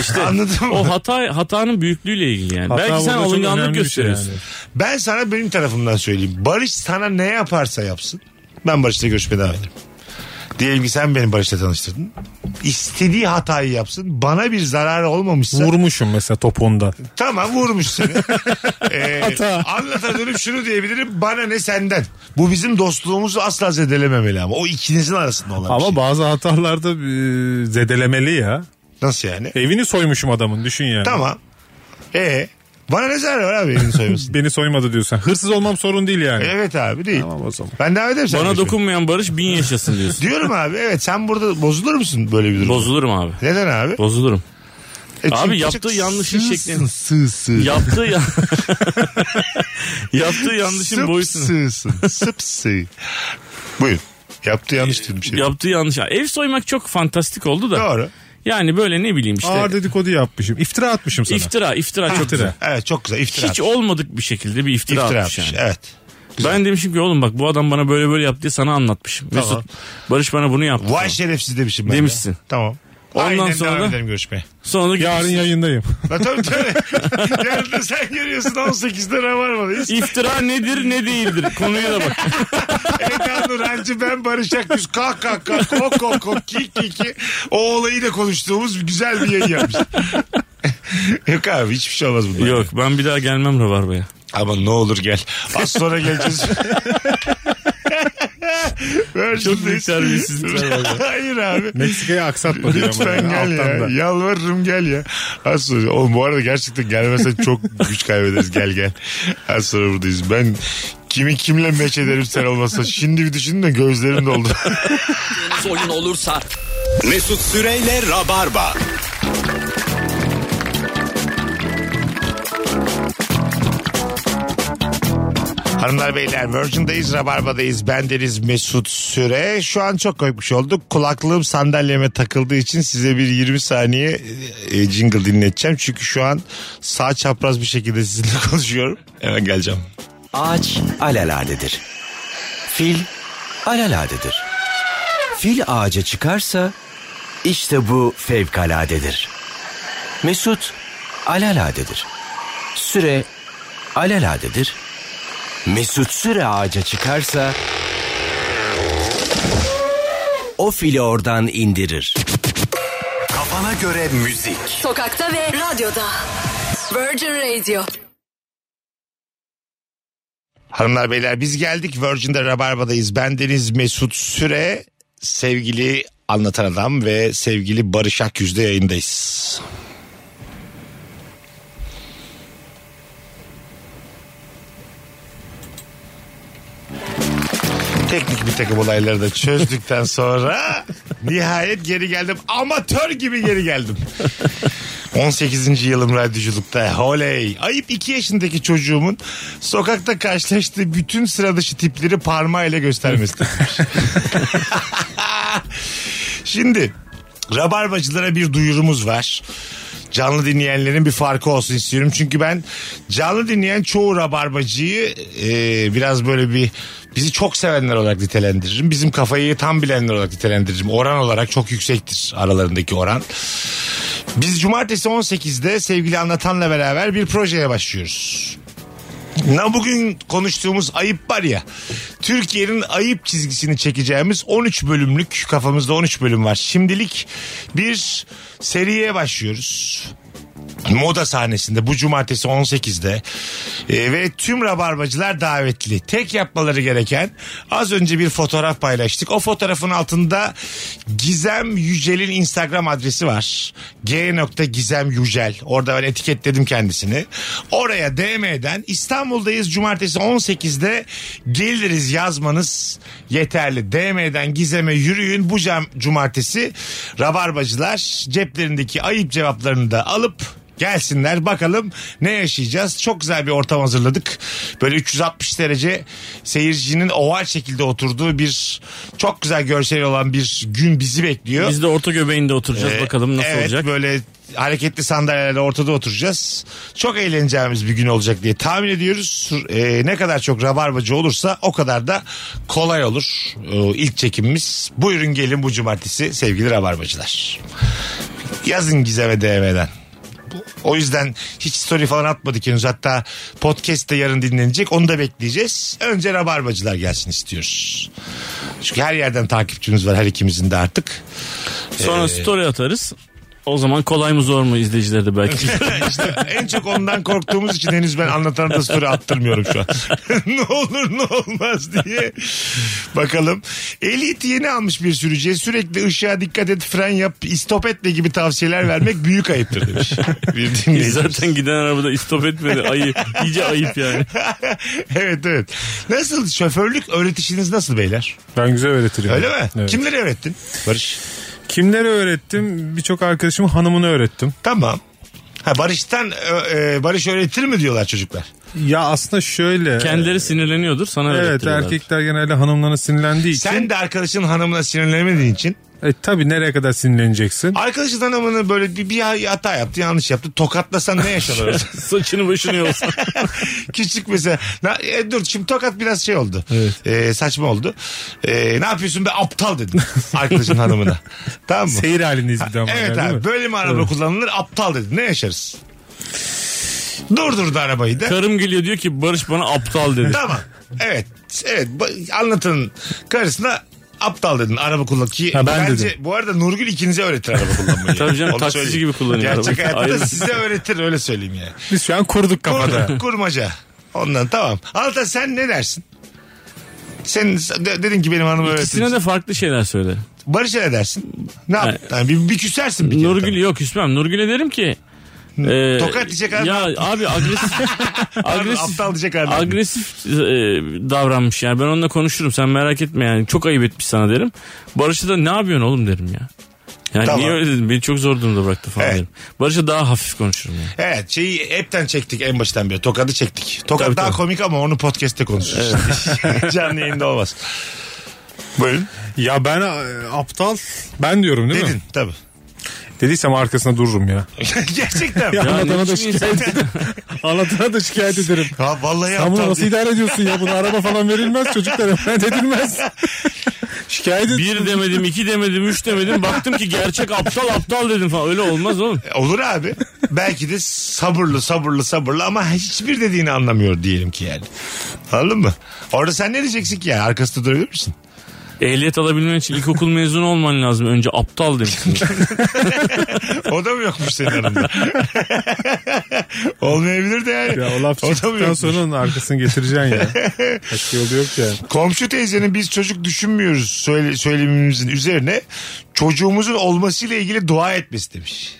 Speaker 3: İşte anladın mı?
Speaker 5: O hata hatanın büyüklüğüyle ilgili yani.
Speaker 4: Hatta
Speaker 5: Belki sen
Speaker 4: burada çok
Speaker 5: alınganlık
Speaker 4: önemli bir şey
Speaker 5: gösteriyorsun.
Speaker 4: yani.
Speaker 3: Ben sana benim tarafımdan söyleyeyim. Barış sana ne yaparsa yapsın. Ben Barış'la görüşmeye devam ederim. Diyelim ki sen beni Barış'la tanıştırdın. İstediği hatayı yapsın. Bana bir zararı olmamışsa
Speaker 4: Vurmuşum mesela topuğundan.
Speaker 3: tamam vurmuş seni. ee,
Speaker 4: Hata.
Speaker 3: anlata dönüp şunu diyebilirim. Bana ne senden. Bu bizim dostluğumuzu asla zedelememeli ama. O ikinizin arasında olan bir
Speaker 4: Ama
Speaker 3: şey.
Speaker 4: bazı hatalarda e, zedelemeli ya.
Speaker 3: Nasıl yani?
Speaker 4: Evini soymuşum adamın düşün yani.
Speaker 3: Tamam. Ee, bana ne zararı var abi elini soymasın?
Speaker 4: Beni soymadı diyorsan. Hırsız olmam sorun değil yani.
Speaker 3: evet abi değil.
Speaker 4: Tamam o zaman.
Speaker 3: Ben devam ederim. sen
Speaker 5: Bana
Speaker 3: görüşmeye.
Speaker 5: dokunmayan barış bin yaşasın diyorsun.
Speaker 3: Diyorum abi evet sen burada bozulur musun böyle bir durumda?
Speaker 5: Bozulurum abi.
Speaker 3: Neden abi?
Speaker 5: Bozulurum.
Speaker 3: E çünkü
Speaker 5: Abi
Speaker 3: çok
Speaker 5: yaptığı yanlışın şeklini-
Speaker 3: Sığ sığ.
Speaker 5: Yaptığı ya... yaptığı yanlışın
Speaker 3: Sıp
Speaker 5: boyutunu.
Speaker 3: Sığsın. Sıp sığ. Buyur. Yaptığı yanlış dedim şey.
Speaker 5: Yaptığı yanlış. Ev soymak çok fantastik oldu da.
Speaker 3: Doğru.
Speaker 5: Yani böyle ne bileyim işte.
Speaker 4: Ağır dedikodu yapmışım. İftira atmışım sana.
Speaker 5: iftira, iftira çok
Speaker 4: İftira.
Speaker 5: güzel.
Speaker 3: Evet çok güzel. İftira
Speaker 5: Hiç
Speaker 3: atmış.
Speaker 5: olmadık bir şekilde bir iftira,
Speaker 3: İftira
Speaker 5: atmış
Speaker 3: atmış.
Speaker 5: yani.
Speaker 3: Evet.
Speaker 5: Ben demişim ki oğlum bak bu adam bana böyle böyle yaptı diye sana anlatmışım.
Speaker 3: Tamam.
Speaker 5: Mesut Barış bana bunu yaptı.
Speaker 3: Vay şerefsiz demişim ben. de.
Speaker 5: Demişsin.
Speaker 3: Tamam.
Speaker 5: Ondan
Speaker 3: Aynen
Speaker 5: sonra
Speaker 3: devam
Speaker 5: da-
Speaker 3: edelim görüşmeye.
Speaker 5: Sonra da
Speaker 4: Yarın
Speaker 5: yarın
Speaker 4: yayındayım.
Speaker 3: Lan tabii tabii. Yarın da sen görüyorsun 18'de ne var mı?
Speaker 5: iftira nedir ne değildir konuya da bak.
Speaker 3: Eda Nurancı ben Barış Akgüz kah kah kah kok kok kok ki ki ki o olayı da konuştuğumuz güzel bir yayın yapmış. Yok abi hiçbir şey olmaz bundan.
Speaker 5: Yok ben bir daha gelmem Rabarba'ya.
Speaker 3: Ama ne olur gel. Az sonra geleceğiz.
Speaker 5: Çok büyük terbiyesizlikler var.
Speaker 3: Hayır abi.
Speaker 4: Meksika'yı aksatma diyor ama.
Speaker 3: Lütfen
Speaker 4: yani,
Speaker 3: gel ya.
Speaker 4: alttan da.
Speaker 3: Yalvarırım gel ya. Az sonra. Oğlum bu arada gerçekten gelmezsen çok güç kaybederiz. Gel gel. Az sonra buradayız. Ben kimi kimle meç ederim sen olmasa. Şimdi bir düşündüm de gözlerim doldu.
Speaker 1: Oyun olursa
Speaker 2: Mesut Süreyle Rabarba.
Speaker 3: Hanımlar beyler Virgin'dayız Rabarba'dayız bendeniz Mesut Süre şu an çok koymuş olduk kulaklığım sandalyeme takıldığı için size bir 20 saniye e, jingle dinleteceğim çünkü şu an sağ çapraz bir şekilde sizinle konuşuyorum hemen geleceğim
Speaker 6: Ağaç alaladedir. Fil alaladedir. Fil ağaca çıkarsa işte bu fevkaladedir. Mesut alaladedir. Süre alaladedir. Mesut süre ağaca çıkarsa o fili oradan indirir.
Speaker 2: Kafana göre müzik.
Speaker 7: Sokakta ve radyoda. Virgin Radio.
Speaker 3: Hanımlar beyler biz geldik Virgin'de Rabarba'dayız. Bendeniz Mesut Süre, sevgili anlatan adam ve sevgili Barış Akyüz'de yayındayız. Teknik bir takım olayları da çözdükten sonra nihayet geri geldim. Amatör gibi geri geldim. 18. yılım radyoculukta. Holey. Ayıp 2 yaşındaki çocuğumun sokakta karşılaştığı bütün sıra dışı tipleri parmağıyla göstermesi. Şimdi rabarbacılara bir duyurumuz var. Canlı dinleyenlerin bir farkı olsun istiyorum. Çünkü ben canlı dinleyen çoğu rabarbacıyı e, biraz böyle bir bizi çok sevenler olarak nitelendiririm. Bizim kafayı tam bilenler olarak nitelendiririm. Oran olarak çok yüksektir aralarındaki oran. Biz cumartesi 18'de sevgili anlatanla beraber bir projeye başlıyoruz. Na bugün konuştuğumuz ayıp var ya. Türkiye'nin ayıp çizgisini çekeceğimiz 13 bölümlük kafamızda 13 bölüm var. Şimdilik bir seriye başlıyoruz. Moda sahnesinde bu cumartesi 18'de Ee, ve tüm rabarbacılar davetli. Tek yapmaları gereken az önce bir fotoğraf paylaştık. O fotoğrafın altında Gizem Yücel'in Instagram adresi var. G nokta Gizem Yücel. Orada ben etiketledim kendisini. Oraya DM'den İstanbul'dayız cumartesi 18'de geliriz yazmanız yeterli. DM'den Gizem'e yürüyün bu cam- cumartesi rabarbacılar ceplerindeki ayıp cevaplarını da alıp Gelsinler bakalım ne yaşayacağız. Çok güzel bir ortam hazırladık. Böyle 360 derece seyircinin oval şekilde oturduğu bir çok güzel görsel olan bir gün bizi bekliyor.
Speaker 5: Biz de orta göbeğinde oturacağız
Speaker 3: Ee,
Speaker 5: bakalım nasıl
Speaker 3: evet,
Speaker 5: olacak.
Speaker 3: böyle hareketli sandalyelerle ortada oturacağız. Çok eğleneceğimiz bir gün olacak diye tahmin ediyoruz. Ee, ne kadar çok rabarbacı olursa o kadar da kolay olur ee, ilk çekimimiz. Buyurun gelin bu cumartesi sevgili rabarbacılar. Yazın Gizem'e DM'den. O yüzden hiç story falan atmadık henüz. Hatta podcast de yarın dinlenecek. Onu da bekleyeceğiz. Önce rabarbacılar gelsin istiyoruz. Çünkü her yerden takipçimiz var her ikimizin de artık. Ee.
Speaker 5: Sonra story atarız. O zaman kolay mı zor mu izleyicileri de belki.
Speaker 3: İşte en çok ondan korktuğumuz için henüz ben anlatan da story attırmıyorum şu an. ne olur ne olmaz diye. Bakalım. Elite yeni almış bir sürücüye sürekli ışığa dikkat et fren yap istop etme gibi tavsiyeler vermek büyük ayıptır demiş. Bir dinleyicimiz.
Speaker 5: Zaten giden arabada istop etmedi. Ayıp. İyice ayıp yani.
Speaker 3: evet evet. Nasıl şoförlük öğretişiniz nasıl beyler?
Speaker 4: Ben güzel öğretirim.
Speaker 3: Öyle mi?
Speaker 4: Evet.
Speaker 3: Kimleri öğrettin? Barış.
Speaker 4: Kimlere öğrettim? Birçok arkadaşımın hanımını öğrettim.
Speaker 3: Tamam. Ha Barış'tan ö- e, Barış öğretir mi diyorlar çocuklar?
Speaker 4: Ya aslında şöyle.
Speaker 5: Kendileri sinirleniyordur sana
Speaker 4: Evet
Speaker 5: öğrettiriyorlar.
Speaker 4: erkekler genelde hanımlarına sinirlendiği için.
Speaker 3: Sen de arkadaşın hanımına sinirlenmediğin için
Speaker 4: E, tabii nereye kadar sinirleneceksin?
Speaker 3: Arkadaşın hanımını böyle bir, bir hata yaptı yanlış yaptı tokatlasan ne yaşanır? orada?
Speaker 5: Saçını başını yolsun.
Speaker 3: Küçük mesela. Na- e, dur şimdi tokat biraz şey oldu. E, saçma oldu. E, ne yapıyorsun be aptal dedim arkadaşın hanımına. Tamam mı?
Speaker 4: Seyir halindeyiz bir de ama.
Speaker 3: evet
Speaker 4: yani, değil
Speaker 3: abi
Speaker 4: mi?
Speaker 3: böyle mi araba kullanılır aptal dedin ne yaşarız? Durdurdu arabayı da.
Speaker 5: Karım geliyor diyor ki Barış bana aptal dedi.
Speaker 3: tamam. Evet. Evet. Ba- Anlatın karısına aptal dedin araba kullan ki
Speaker 4: Ha, ben
Speaker 3: bence
Speaker 4: dedim.
Speaker 3: bu arada Nurgül ikinize öğretir araba kullanmayı.
Speaker 5: Tabii canım,
Speaker 3: Onu
Speaker 5: taksici
Speaker 3: söyleyeyim.
Speaker 5: gibi kullanıyor
Speaker 3: Gerçek
Speaker 5: arabayı.
Speaker 3: hayatta da
Speaker 5: Ayrı.
Speaker 3: size öğretir öyle söyleyeyim yani.
Speaker 4: Biz şu an kurduk kafada.
Speaker 3: Kur, kurmaca. Ondan tamam. Alta sen ne dersin? Sen de- dedin ki benim hanım
Speaker 5: İkisine
Speaker 3: öğretmenim.
Speaker 5: de farklı şeyler söyle.
Speaker 3: Barış'a ne dersin? Ne yap? Yani bir, bir küsersin bir kere.
Speaker 5: Nurgül yok Hüsmem. Nurgül'e derim ki e,
Speaker 3: Tokat diyecek abi.
Speaker 5: Ya abi agresif agresif,
Speaker 3: aptal diyecek abi.
Speaker 5: agresif e, davranmış yani ben onunla konuşurum sen merak etme yani çok ayıp etmiş sana derim. Barış'a da ne yapıyorsun oğlum derim ya. Yani
Speaker 3: Tamam.
Speaker 5: niye öyle dedim beni çok zor durumda bıraktı falan
Speaker 3: Evet.
Speaker 5: derim. Barış'a daha hafif konuşurum yani.
Speaker 3: Evet şeyi hepten çektik en baştan beri. Tokadı çektik. Tokat
Speaker 5: Tabii,
Speaker 3: daha
Speaker 5: tabii.
Speaker 3: komik ama onu podcast'te konuşuruz. Canlı yayında olmaz. Buyurun.
Speaker 4: Ya ben e, aptal ben diyorum değil mi?
Speaker 3: Dedin tabii.
Speaker 4: Dediysem arkasında dururum ya.
Speaker 3: Gerçekten.
Speaker 4: Ya,
Speaker 3: mi?
Speaker 4: anlatana,
Speaker 5: ne
Speaker 4: da
Speaker 5: biçim
Speaker 4: şikayet ederim. anlatana da şikayet ederim.
Speaker 3: Ha, vallahi
Speaker 4: Sen bunu
Speaker 3: aptal
Speaker 4: nasıl
Speaker 3: değil.
Speaker 4: idare ediyorsun ya? Buna araba falan verilmez çocuklara. Ben edilmez. şikayet ederim.
Speaker 5: Bir demedim iki demedim üç demedim baktım ki gerçek aptal aptal dedim falan öyle olmaz oğlum.
Speaker 3: Olur abi. Belki de sabırlı sabırlı sabırlı ama hiçbir dediğini anlamıyor diyelim ki yani. Anladın mı? Orada sen ne diyeceksin ki yani? Arkasında durabilir misin?
Speaker 5: Ehliyet alabilmen için ilkokul mezunu olman lazım önce aptal demişsin.
Speaker 3: O da mı yokmuş senin yanında? Olmayabilir de yani.
Speaker 4: Ya o laf
Speaker 3: O da mı
Speaker 4: çıktıktan
Speaker 3: yokmuş?
Speaker 4: sonra onun arkasını getireceksin ya. Başka yolu yok ya.
Speaker 3: Komşu teyzenin biz çocuk düşünmüyoruz söyle, söylemimizin üzerine çocuğumuzun olmasıyla ilgili dua etmesi demiş.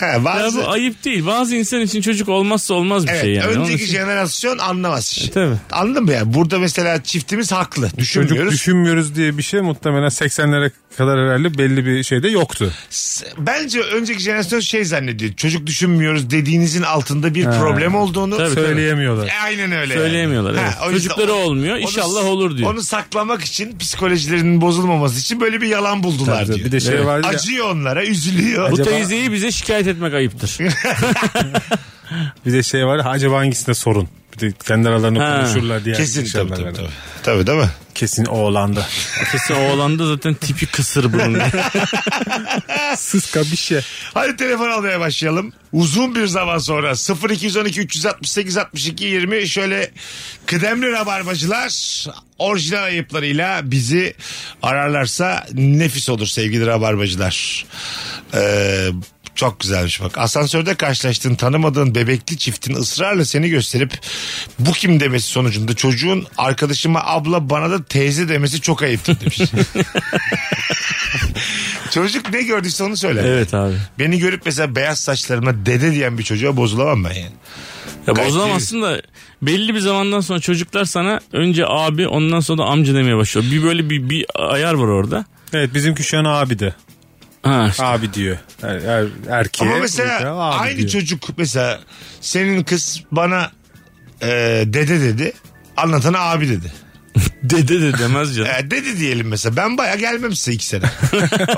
Speaker 3: Ha,
Speaker 5: Ya
Speaker 3: bazı,
Speaker 5: bu ayıp değil. Bazı insan için çocuk olmazsa olmaz bir
Speaker 3: evet,
Speaker 5: şey yani. Onun
Speaker 3: önceki
Speaker 5: için-
Speaker 3: jenerasyon anlamaz.
Speaker 5: tabii. E,
Speaker 3: Anladın mı yani? Burada mesela çiftimiz haklı.
Speaker 4: Çocuk
Speaker 3: Düşünmüyoruz.
Speaker 4: düşünmüyoruz diye bir şey muhtemelen 80'lere kadar herhalde belli bir şeyde yoktu.
Speaker 3: S- Bence önceki jenerasyon şey zannediyor. Çocuk düşünmüyoruz dediğinizin altında bir problem olduğunu
Speaker 5: Tabii, tabii.
Speaker 4: Söyleyemiyorlar.
Speaker 3: E, Aynen öyle.
Speaker 5: Söyleyemiyorlar, evet.
Speaker 3: o yüzden
Speaker 5: Çocukları
Speaker 3: o-
Speaker 5: olmuyor, inşallah olur diyor.
Speaker 3: Onu saklamak için psikolojilerinin bozulmaması için böyle bir yalan buldular diyor.
Speaker 4: Bir de şey
Speaker 5: Evet.
Speaker 4: vardı ya,
Speaker 3: Acıyor onlara, üzülüyor.
Speaker 5: Bu
Speaker 4: Acaba-
Speaker 5: teyzeyi bize şikayet etmek ayıptır.
Speaker 4: bir de şey var ya, acaba hangisinde sorun? Bir de kendi aralarında
Speaker 5: Ha.
Speaker 4: konuşurlar diye.
Speaker 3: Kesin
Speaker 4: akşamlar
Speaker 3: tabii tabii,
Speaker 4: beraber.
Speaker 3: tabii. Tabii değil mi?
Speaker 4: Kesin oğlanda.
Speaker 5: Kesin oğlan da zaten tipi kısır bunun.
Speaker 4: Sıska bir şey.
Speaker 3: Hadi telefon almaya başlayalım. Uzun bir zaman sonra 0212 368 62 20 şöyle kıdemli rabarbacılar orijinal ayıplarıyla bizi ararlarsa nefis olur sevgili rabarbacılar. Ee, çok güzelmiş bak. Asansörde karşılaştığın tanımadığın bebekli çiftin ısrarla seni gösterip bu kim demesi sonucunda çocuğun arkadaşıma abla bana da teyze demesi çok ayıptır demiş. Çocuk ne gördüyse onu söyler.
Speaker 5: evet abi.
Speaker 3: Beni görüp mesela beyaz saçlarıma dede diyen bir çocuğa bozulamam ben yani.
Speaker 5: Ya
Speaker 3: Gayet
Speaker 5: bozulamazsın da belli bir zamandan sonra çocuklar sana önce abi ondan sonra da amca demeye başlıyor. Bir böyle bir, bir ayar var orada.
Speaker 4: Evet bizimki şu an abi de.
Speaker 5: Ha, işte.
Speaker 4: Abi diyor. Er, er, erkeğe.
Speaker 3: Ama mesela
Speaker 4: erkeğe abi
Speaker 3: aynı
Speaker 4: diyor.
Speaker 3: çocuk mesela senin kız bana e, dede dedi. Anlatana abi dedi.
Speaker 5: dede de demez canım.
Speaker 3: E, dede diyelim mesela. Ben baya gelmem size iki sene.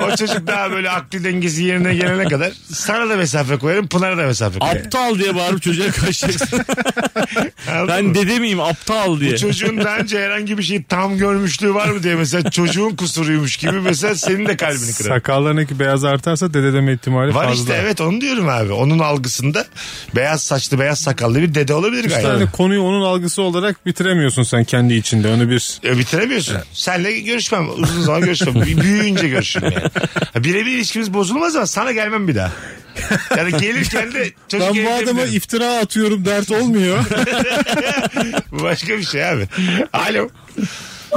Speaker 3: o çocuk daha böyle akli dengesi yerine gelene kadar sana da mesafe koyarım Pınar'a da mesafe koyarım.
Speaker 5: aptal diye bağırıp çocuğa kaçacaksın.
Speaker 3: Anladın mı?
Speaker 5: ben dede miyim aptal diye.
Speaker 3: Çocuğun daha önce herhangi bir şeyi tam görmüşlüğü var mı diye mesela çocuğun kusuruymuş gibi mesela senin de kalbini kırar.
Speaker 4: Sakallarındaki beyaz artarsa dede deme ihtimali
Speaker 3: Var
Speaker 4: fazla.
Speaker 3: işte evet onu diyorum abi. Onun algısında beyaz saçlı beyaz sakallı bir dede olabilir
Speaker 4: Üstelik
Speaker 3: gayet.
Speaker 4: hani konuyu onun algısı olarak bitiremiyorsun sen kendi içinde. Onu bir
Speaker 3: E, bitiremiyorsun. Senle görüşmem. Uzun zaman görüşmem. Bir Büyüyünce görüşürüm yani. Ha, Birebir ilişkimiz bozulmaz ama sana gelmem bir daha. Yani gelirken de çocuk
Speaker 4: ben bu
Speaker 3: evde
Speaker 4: adama
Speaker 3: bilirim.
Speaker 4: iftira atıyorum dert olmuyor.
Speaker 3: Bu başka bir şey abi. Alo.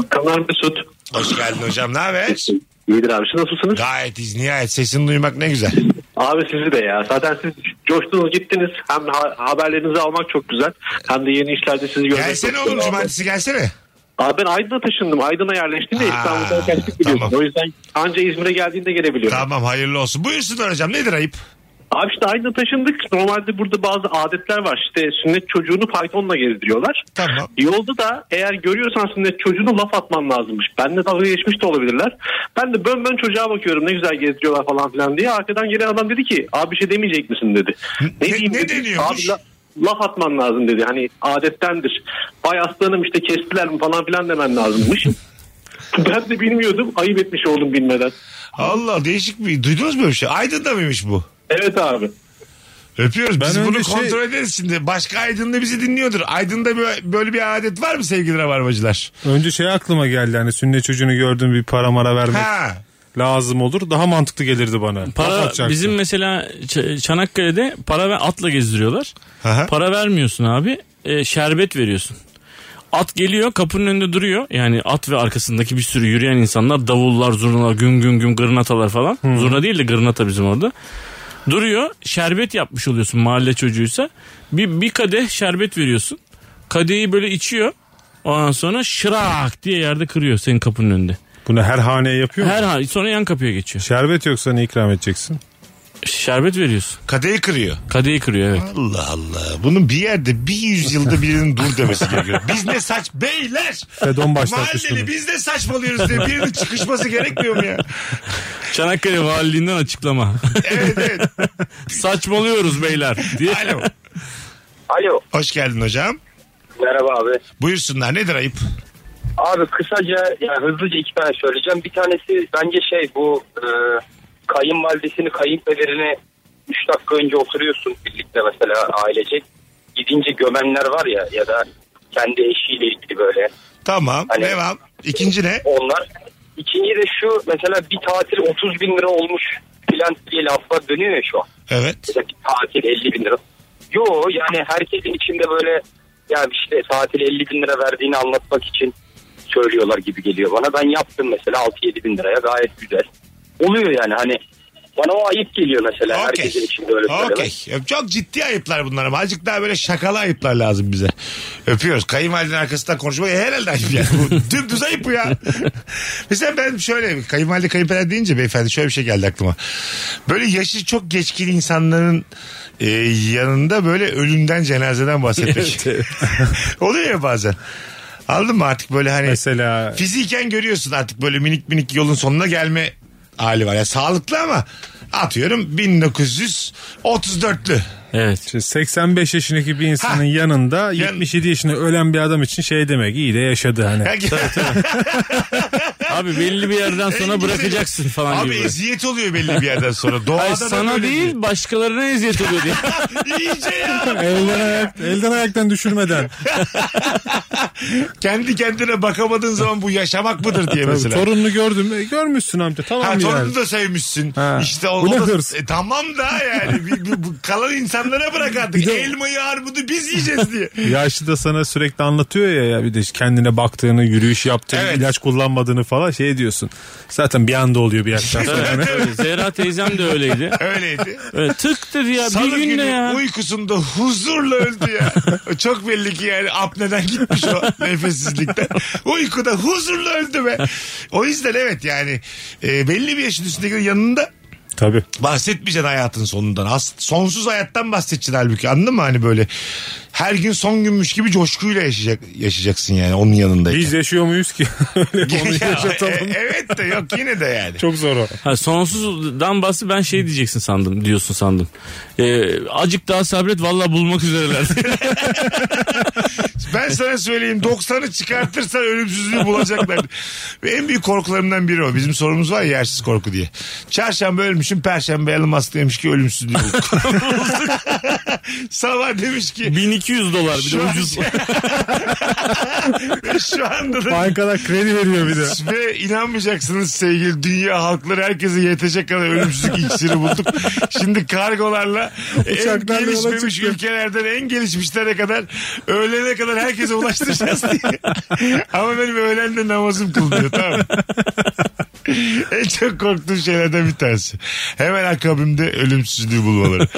Speaker 8: Kanal Mesut.
Speaker 3: Hoş geldin hocam. Ne haber?
Speaker 8: İyidir abi. Siz nasılsınız?
Speaker 3: Gayet iz nihayet. Sesini duymak ne güzel.
Speaker 8: Abi sizi de ya. Zaten siz coştunuz gittiniz. Hem ha- haberlerinizi almak çok güzel. Hem de yeni işlerde sizi görmek
Speaker 3: Gelsene
Speaker 8: çok
Speaker 3: oğlum
Speaker 8: güzel.
Speaker 3: cumartesi gelsene.
Speaker 8: Abi ben Aydın'a taşındım. Aydın'a yerleştim de
Speaker 3: Ha,
Speaker 8: İstanbul'da kaçtık biliyorsun.
Speaker 3: tamam.
Speaker 8: O yüzden anca İzmir'e geldiğinde gelebiliyorum.
Speaker 3: Tamam hayırlı olsun. Buyursunlar hocam. Nedir ayıp?
Speaker 8: Abi işte Aydın'a taşındık. Normalde burada bazı adetler var. İşte sünnet çocuğunu faytonla gezdiriyorlar.
Speaker 3: Tamam.
Speaker 8: Yolda da eğer görüyorsan sünnet çocuğunu laf atman lazımmış. Ben de dalga geçmiş de olabilirler. Ben de bön bön çocuğa bakıyorum ne güzel gezdiriyorlar falan filan diye. Arkadan gelen adam dedi ki abi bir şey demeyecek misin dedi.
Speaker 3: Ne- ne deniyormuş?
Speaker 8: Abi la- laf atman lazım dedi. Hani adettendir. Vay aslanım işte kestiler mi falan filan demen lazımmış. ben de bilmiyordum. Ayıp etmiş oldum bilmeden.
Speaker 3: Allah değişik bir. Duydunuz mu böyle bir şey? Aydın'da mıymış bu?
Speaker 8: Evet abi.
Speaker 3: Öpüyoruz. Biz
Speaker 4: Ben önce
Speaker 3: bunu
Speaker 4: şey-
Speaker 3: kontrol ederiz şimdi. Başka Aydın'da bizi dinliyordur. Aydın'da böyle, böyle bir adet var mı sevgili rabarbacılar?
Speaker 4: Önce şey aklıma geldi hani sünnet çocuğunu gördüm bir para mara vermek
Speaker 3: Ha.
Speaker 4: lazım olur. Daha mantıklı gelirdi bana. Laf
Speaker 5: Para
Speaker 4: atacaktı.
Speaker 5: bizim mesela Ç- Çanakkale'de para ve atla gezdiriyorlar.
Speaker 3: Aha.
Speaker 5: Para vermiyorsun abi. e, şerbet veriyorsun. At geliyor kapının önünde duruyor. Yani at ve arkasındaki bir sürü yürüyen insanlar davullar, zurnalar, güm güm güm gırnatalar falan. Zurna değil de gırnata bizim orada. Duruyor şerbet yapmış oluyorsun mahalle çocuğuysa. Bir, bir kadeh şerbet veriyorsun. Kadehi böyle içiyor. Ondan sonra şırak diye yerde kırıyor senin kapının önünde.
Speaker 4: Bunu her haneye yapıyor
Speaker 5: Her
Speaker 4: mu?
Speaker 5: hal sonra yan kapıya geçiyor.
Speaker 4: Şerbet yoksa ne ikram edeceksin?
Speaker 5: Şerbet veriyorsun.
Speaker 3: Kadeyi kırıyor.
Speaker 5: Kadehi kırıyor evet.
Speaker 3: Allah Allah. Bunun bir yerde bir yüzyılda birinin dur demesi gerekiyor. Biz ne saç beyler.
Speaker 4: Fedon başlatmış
Speaker 3: Mahalleli
Speaker 4: bunu.
Speaker 3: biz de saçmalıyoruz diye birinin çıkışması gerekmiyor mu ya?
Speaker 5: Çanakkale Valiliğinden açıklama.
Speaker 3: Evet evet.
Speaker 5: Saçmalıyoruz beyler diye.
Speaker 3: Alo.
Speaker 9: Alo.
Speaker 3: Hoş geldin hocam.
Speaker 9: Merhaba abi.
Speaker 3: Buyursunlar nedir ayıp?
Speaker 9: Abi kısaca yani hızlıca iki tane söyleyeceğim. Bir tanesi bence şey bu e, kayınvalidesini kayınpederini 3 dakika önce oturuyorsun birlikte mesela ailecek. Gidince gömenler var ya ya da kendi eşiyle ilgili böyle.
Speaker 3: Tamam
Speaker 9: Alo.
Speaker 3: devam. İkinci ne?
Speaker 9: Onlar. İkinci de şu mesela bir tatil 30 bin lira olmuş filan diye laflar dönüyor ya şu an.
Speaker 3: Evet.
Speaker 9: Mesela bir tatil 50 bin lira. Yo yani herkesin içinde böyle ya işte tatil 50 bin lira verdiğini anlatmak için söylüyorlar gibi geliyor bana. Ben yaptım mesela 6-7 bin liraya gayet güzel. Oluyor yani hani bana o ayıp geliyor mesela
Speaker 3: Okey.
Speaker 9: herkesin içinde öyle söylemek.
Speaker 3: Okey. Çok ciddi ayıplar bunlar ama azıcık daha böyle şakalı ayıplar lazım bize. Öpüyoruz. Kayınvalidenin arkasından konuşmak e, herhalde ayıp ya. Bu dümdüz ayıp bu ya. Mesela ben şöyle kayınvalide kayınpeder deyince beyefendi şöyle bir şey geldi aklıma. Böyle yaşı çok geçkin insanların e, yanında böyle ölümden cenazeden bahsetmek. Oluyor ya bazen. Anladın mı artık böyle hani
Speaker 4: Mesela
Speaker 3: fiziken görüyorsun artık böyle minik minik yolun sonuna gelme hali var. Ya sağlıklı ama atıyorum 1934'lü.
Speaker 5: Evet.
Speaker 4: işte 85 yaşındaki bir insanın
Speaker 3: Ha.
Speaker 4: yanında 77 yaşında ölen bir adam için şey demek iyi de yaşadı hani.
Speaker 3: Yani-
Speaker 5: Abi belli bir yerden sonra bırakacaksın falan
Speaker 3: Abi
Speaker 5: gibi.
Speaker 3: eziyet oluyor belli bir yerden sonra. Doğada
Speaker 5: Ay
Speaker 3: da
Speaker 5: sana
Speaker 3: böyle
Speaker 5: değil başkalarına eziyet oluyor diye.
Speaker 3: diyor. İyice ya.
Speaker 4: Elden, ayak, elden ayaktan düşürmeden.
Speaker 3: Kendi kendine bakamadığın zaman bu yaşamak mıdır diye
Speaker 4: Tabii,
Speaker 3: mesela.
Speaker 4: torununu gördüm. E, görmüşsün amca tamam
Speaker 3: Ha,
Speaker 4: yani.
Speaker 3: torununu da sevmişsin.
Speaker 4: Ha.
Speaker 3: İşte o,
Speaker 4: Bu ne
Speaker 3: o da-
Speaker 4: hırs?
Speaker 3: E, tamam da yani. Bir- bir- bu- kalan insanlara bırak artık.
Speaker 4: Bir de-
Speaker 3: Elmayı armudu biz yiyeceğiz diye.
Speaker 4: Yaşlı da sana sürekli anlatıyor ya, ya bir de kendine baktığını, yürüyüş yaptığını,
Speaker 3: Evet.
Speaker 4: ilaç kullanmadığını falan şey diyorsun. Zaten bir anda oluyor bir yaştan sonra.
Speaker 5: Evet, evet. Zehra teyzem de öyleydi.
Speaker 3: Öyleydi.
Speaker 5: Öyle tık dedi ya
Speaker 3: Salı
Speaker 5: bir günde
Speaker 3: günü
Speaker 5: ya.
Speaker 3: uykusunda huzurla öldü ya. Çok belli ki yani apneden gitmiş o nefessizlikten. Uykuda huzurla öldü be. O yüzden evet yani e, belli bir yaşın üstündekilerin yanında
Speaker 4: Tabii.
Speaker 3: bahsetmeyeceksin hayatın sonundan. As- sonsuz hayattan bahsedeceksin halbuki anladın mı? Hani böyle her gün son günmüş gibi coşkuyla yaşayacak, yaşayacaksın yani onun yanındayken.
Speaker 4: Biz yaşıyor muyuz ki? Öyle onu
Speaker 3: Ya,
Speaker 4: yaşatalım.
Speaker 3: e- evet de yok yine de yani.
Speaker 4: Çok zor o.
Speaker 5: Ha, sonsuzdan bahsi ben şey diyeceksin sandım diyorsun sandım. Ee, acık daha sabret valla bulmak üzereler.
Speaker 3: Ben sana söyleyeyim 90'ı çıkartırsan ölümsüzlüğü bulacaklar. Ve en büyük korkularımdan biri o. Bizim sorumuz var ya yersiz korku diye. Çarşamba ölmüşüm, perşembe yalım hastaymış ki ölümsüzlüğü bulduk. Sabah demiş ki
Speaker 5: 1200 dolar bir de
Speaker 3: Şu an-
Speaker 5: ucuz.
Speaker 3: şu anda da
Speaker 4: Bankalar kredi veriyor bir de.
Speaker 3: ve inanmayacaksınız sevgili dünya halkları herkese yetecek kadar ölümsüzlük iksiri bulduk. Şimdi kargolarla en
Speaker 4: Uçaklarla yola
Speaker 3: gelişmemiş
Speaker 4: çıktı.
Speaker 3: ülkelerden en gelişmişlere kadar öğlene kadar herkese ulaştıracağız diye. Ama benim öğlen de namazım kılmıyor tamam mı? En çok korktuğum şeylerden bir tanesi. Hemen akabimde ölümsüzlüğü bulmaları.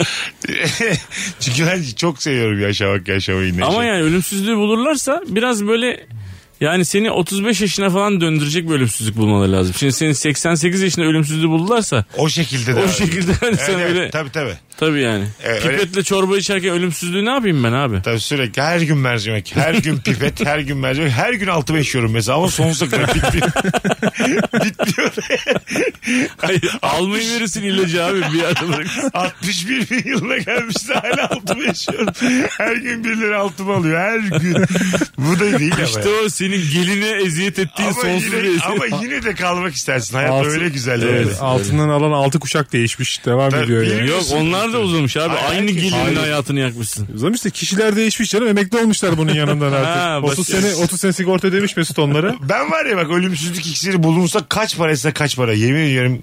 Speaker 3: Çünkü ben çok seviyorum yaşamak yaşamayı. neşeyi.
Speaker 5: Ama yani ölümsüzlüğü bulurlarsa biraz böyle yani seni 35 yaşına falan döndürecek bir ölümsüzlük bulmaları lazım. Şimdi senin 88 yaşında ölümsüzlüğü buldularsa
Speaker 3: O şekilde de.
Speaker 5: O
Speaker 3: var.
Speaker 5: şekilde hani
Speaker 3: Evet,
Speaker 5: sen
Speaker 3: evet,
Speaker 5: öyle-
Speaker 3: Tabii tabii.
Speaker 5: tabii yani.
Speaker 3: E, öyle-
Speaker 5: Pipetle çorba içerken ölümsüzlüğü ne yapayım ben abi?
Speaker 3: Tabii sürekli her gün mercimek, her gün pipet, her gün mercimek, her gün altı beş yiyorum mesela ama sonsuza kadar bitmiyor. bitmiyor.
Speaker 5: Hayır, almayı verirsin ilacı abi bir yerde bırakırsın.
Speaker 3: 61 bin yılına gelmiş de hala altı beş yiyorum. Her gün bir lira altımı alıyor her gün. Bu da değil ama.
Speaker 5: İşte o senin geline eziyet ettiğin
Speaker 3: Ama
Speaker 5: sonsuz bir
Speaker 3: yine,
Speaker 5: eziyet.
Speaker 3: ama yine de kalmak istersin. Hayat
Speaker 4: Altı-
Speaker 3: öyle güzel.
Speaker 4: Evet,
Speaker 3: öyle.
Speaker 4: altından alan altı kuşak
Speaker 3: şey
Speaker 4: değişmiş. Devam
Speaker 3: Tabii,
Speaker 4: ediyor
Speaker 3: bilmiyorum.
Speaker 4: yani.
Speaker 5: Yok onlar da uzamış abi.
Speaker 3: Hayır,
Speaker 5: Aynı
Speaker 3: herkes-
Speaker 5: gelinin
Speaker 3: Hayır.
Speaker 5: hayatını yakmışsın.
Speaker 4: O zaman işte kişiler değişmiş canım. Emekli olmuşlar bunun yanından
Speaker 5: Ha,
Speaker 4: artık. 30
Speaker 5: bak-
Speaker 4: sene 30 sene sigorta demiş Mesut onlara.
Speaker 3: Ben var ya bak ölümsüzlük iksiri bulunsa kaç paraysa kaç para. Yemin ediyorum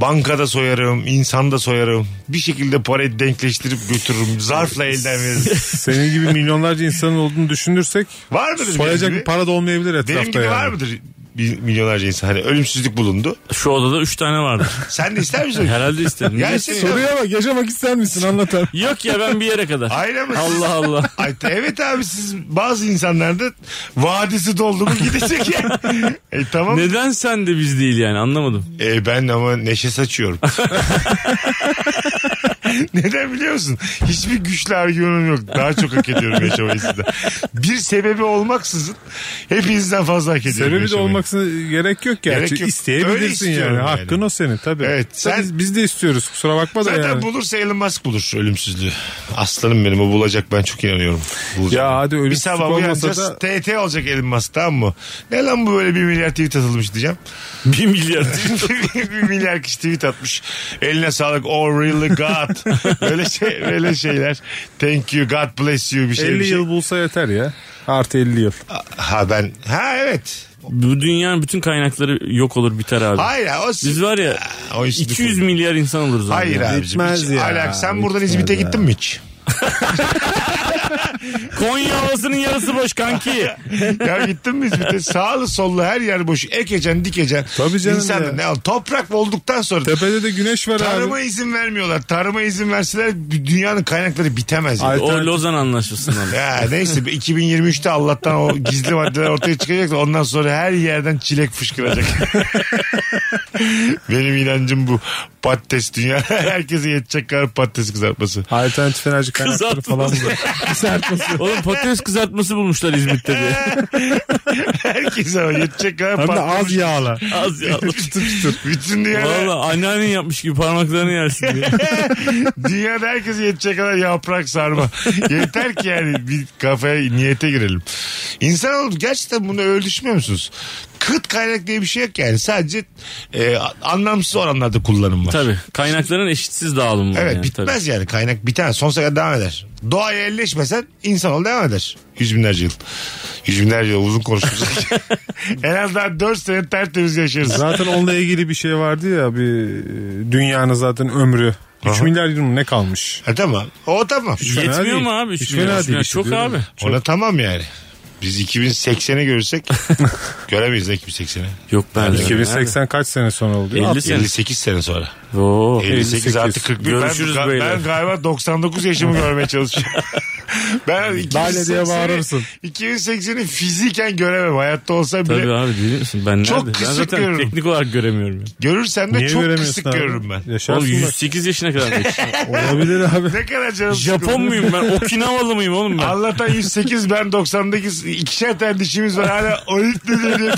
Speaker 3: bankada soyarım, insanda soyarım. Bir şekilde parayı denkleştirip götürürüm. Zarfla elden veririm.
Speaker 4: Senin gibi milyonlarca insanın olduğunu düşünürsek
Speaker 3: Var mıdır şey? benim
Speaker 4: soyacak
Speaker 3: gibi?
Speaker 4: bir para da olmayabilir etrafta
Speaker 3: Benim gibi
Speaker 4: yani.
Speaker 3: var mıdır bir milyonlarca insan? Hani ölümsüzlük bulundu.
Speaker 5: Şu odada 3 tane vardı.
Speaker 3: Sen de ister misin?
Speaker 5: Herhalde istedim.
Speaker 3: Gerçekten.
Speaker 4: Soruya bak yaşamak ister misin anlatan.
Speaker 5: Yok ya ben bir yere kadar.
Speaker 3: Aynen mi?
Speaker 5: Allah Allah.
Speaker 3: Ay, te- evet abi siz bazı insanlarda vadisi doldu mu gidecek ya. e tamam.
Speaker 5: Neden sen de biz değil yani anlamadım.
Speaker 3: E, ben ama neşe saçıyorum. Neden biliyor musun? Hiçbir güçlü argümanım yok. Daha çok hak ediyorum yaşamayı sizden. Bir sebebi olmaksızın hepinizden fazla hak ediyorum
Speaker 4: Sebebi de
Speaker 3: yaşamayı.
Speaker 4: olmaksına gerek yok gerçi.
Speaker 3: Gerek yok. Öyle
Speaker 4: İsteyebilirsin
Speaker 3: istiyorum
Speaker 4: yani.
Speaker 3: yani.
Speaker 4: Hakkın o senin tabii.
Speaker 3: Evet,
Speaker 4: Tabii
Speaker 3: sen-
Speaker 4: biz, biz de istiyoruz kusura bakma da
Speaker 3: Zaten
Speaker 4: yani.
Speaker 3: bulursa Elon Musk bulur ölümsüzlüğü. Aslanım benim o bulacak ben çok inanıyorum. Bulacak.
Speaker 4: Ya hadi
Speaker 3: Bir
Speaker 4: ölümsüzlük
Speaker 3: sabah
Speaker 4: olmasa
Speaker 3: uyanacağız
Speaker 4: da
Speaker 3: TT olacak Elon Musk tamam mı? Ne lan bu böyle bir milyar tweet atılmış diyeceğim.
Speaker 5: 1 milyar.
Speaker 3: Şey, bir milyar kişi tweet atmış. Eline sağlık. Oh really God. Böyle şey, böyle şeyler. Thank you. God bless you. Bir şey.
Speaker 4: 50
Speaker 3: bir şey. Ah.
Speaker 4: yıl bulsa yeter ya. Artı 50 yıl.
Speaker 3: Ha ben. Ha evet.
Speaker 5: Bu dünyanın bütün kaynakları yok olur biter abi.
Speaker 3: Hayır. ya, O,
Speaker 5: Biz var ya
Speaker 3: Ha, o işi
Speaker 5: 200
Speaker 3: düşünme.
Speaker 5: milyar insan oluruz abi.
Speaker 3: Hayır
Speaker 5: ya.
Speaker 3: abicim.
Speaker 4: Bitmez
Speaker 3: hiç
Speaker 4: ya,
Speaker 3: alak- sen
Speaker 4: bitmez
Speaker 3: buradan İzmit'e
Speaker 4: ya.
Speaker 3: gittin mi hiç?
Speaker 5: Konya havasının yarısı boş kanki.
Speaker 3: ya gittin mi İzmit'e? Sağlı sollu her yer boş. Ekecen dikecen.
Speaker 4: Tabii canım
Speaker 3: İnsan
Speaker 4: ya.
Speaker 3: ne al? Toprak olduktan sonra.
Speaker 4: Tepede de güneş var
Speaker 3: Tarıma
Speaker 4: abi.
Speaker 3: izin vermiyorlar. Tarıma izin verseler dünyanın kaynakları bitemez. yani.
Speaker 4: Ay,
Speaker 5: o Lozan anlaşmasından.
Speaker 3: Ya neyse 2023'te Allah'tan o gizli maddeler ortaya çıkacak da ondan sonra her yerden çilek fışkıracak. Benim inancım bu. Patates dünya herkese yetecek kadar patates kızartması.
Speaker 4: Alternatif enerji kaynakları
Speaker 5: Kızartması.
Speaker 4: falan var. Kızartması.
Speaker 5: Oğlum patates kızartması bulmuşlar İzmit'te diye.
Speaker 3: Herkese o yetecek kadar
Speaker 4: Hem de az
Speaker 3: patates.
Speaker 4: yağla.
Speaker 5: Az ya.
Speaker 4: Çıtır çıtır.
Speaker 3: Bütün dünyada,
Speaker 5: Valla anneannen yapmış gibi parmaklarını yersin diye.
Speaker 3: dünyada herkese yetecek kadar yaprak sarma. Yeter ki yani bir kafaya niyete girelim. İnsan olup gerçekten bunu öyle düşünmüyor musunuz? Kıt kaynak diye bir şey yok yani. Sadece e, anlamsız oranlarda kullanım var.
Speaker 5: Tabii kaynakların eşitsiz dağılımı var
Speaker 3: Evet
Speaker 5: yani, tabii.
Speaker 3: bitmez yani kaynak biter sonsuza kadar devam eder. Doğaya elleşmesen insanoğlu devam eder. Yüz binlerce yıl. Yüz binlerce yıl uzun konuşuruz. en az daha dört sene tertemiz yaşarız.
Speaker 4: Zaten onunla ilgili bir şey vardı ya bir e, dünyanın zaten ömrü. 3
Speaker 3: Aha.
Speaker 4: milyar yıl mı ne kalmış?
Speaker 3: Ha, tamam o tamam.
Speaker 4: fena
Speaker 5: Yetmiyor
Speaker 4: değil.
Speaker 5: mu abi?
Speaker 4: Hiç
Speaker 5: Üç
Speaker 4: fena
Speaker 5: milyar,
Speaker 4: değil
Speaker 5: üç milyar.
Speaker 4: işte
Speaker 5: Çok
Speaker 4: diyorum.
Speaker 5: abi.
Speaker 3: Ona tamam yani. Biz 2080'i görürsek göremeyiz de 2080'i.
Speaker 5: Yok ben.
Speaker 4: 2080 kaç sene sonra oldu?
Speaker 5: 50 sene.
Speaker 3: 58 sene sonra.
Speaker 5: Oo.
Speaker 3: 58, artı 41.
Speaker 5: Görüşürüz
Speaker 3: ben,
Speaker 5: beyler.
Speaker 3: ben galiba 99 yaşımı görmeye çalışıyorum. ben 2080'i
Speaker 4: diye bağırırsın.
Speaker 3: 2080'i fiziken göremem. Hayatta olsam bile
Speaker 5: Tabii abi değil misin? Ben
Speaker 3: Çok
Speaker 5: nerede? Ben
Speaker 3: kısık
Speaker 5: zaten
Speaker 3: görüyorum.
Speaker 5: teknik olarak göremiyorum. ya.
Speaker 3: görürsem de
Speaker 4: Niye
Speaker 3: çok
Speaker 4: göremiyorsun
Speaker 3: kısık
Speaker 4: abi?
Speaker 3: görürüm ben.
Speaker 4: Yaşarsın
Speaker 5: Oğlum
Speaker 4: bak.
Speaker 5: 108 yaşına kadar. bekliyorum.
Speaker 4: Olabilir abi.
Speaker 3: Ne kadar canım
Speaker 5: Japon
Speaker 3: sıkıldı.
Speaker 5: muyum ben? Okinavalı mıyım oğlum ben?
Speaker 3: Allah'tan 108 ben 98 ikişer tane dişimiz var hala olit ne diyor diye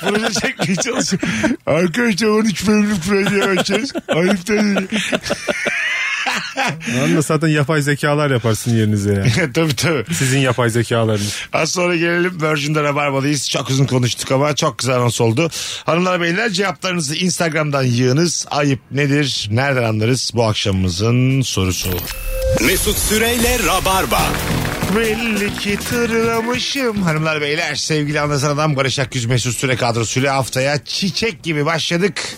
Speaker 3: proje çekmeye çalışıyorum. Arkadaşlar 13 bölümlük proje ölçeceğiz. Ayıp da değil.
Speaker 4: Anla zaten yapay zekalar yaparsın yerinize yani.
Speaker 3: E, tabii tabii.
Speaker 4: Sizin yapay zekalarınız.
Speaker 3: Az sonra gelelim Virgin'de Rabarba'dayız. Çok uzun konuştuk ama çok güzel anons oldu. Hanımlar beyler cevaplarınızı Instagram'dan yığınız. Ayıp nedir? Nereden anlarız? Bu akşamımızın sorusu.
Speaker 2: Mesut Süreyle Rabarba.
Speaker 3: Belli ki tırlamışım. Hanımlar beyler sevgili anlatan adam Barış Akgüz Mesut Süre kadrosuyla haftaya çiçek gibi başladık.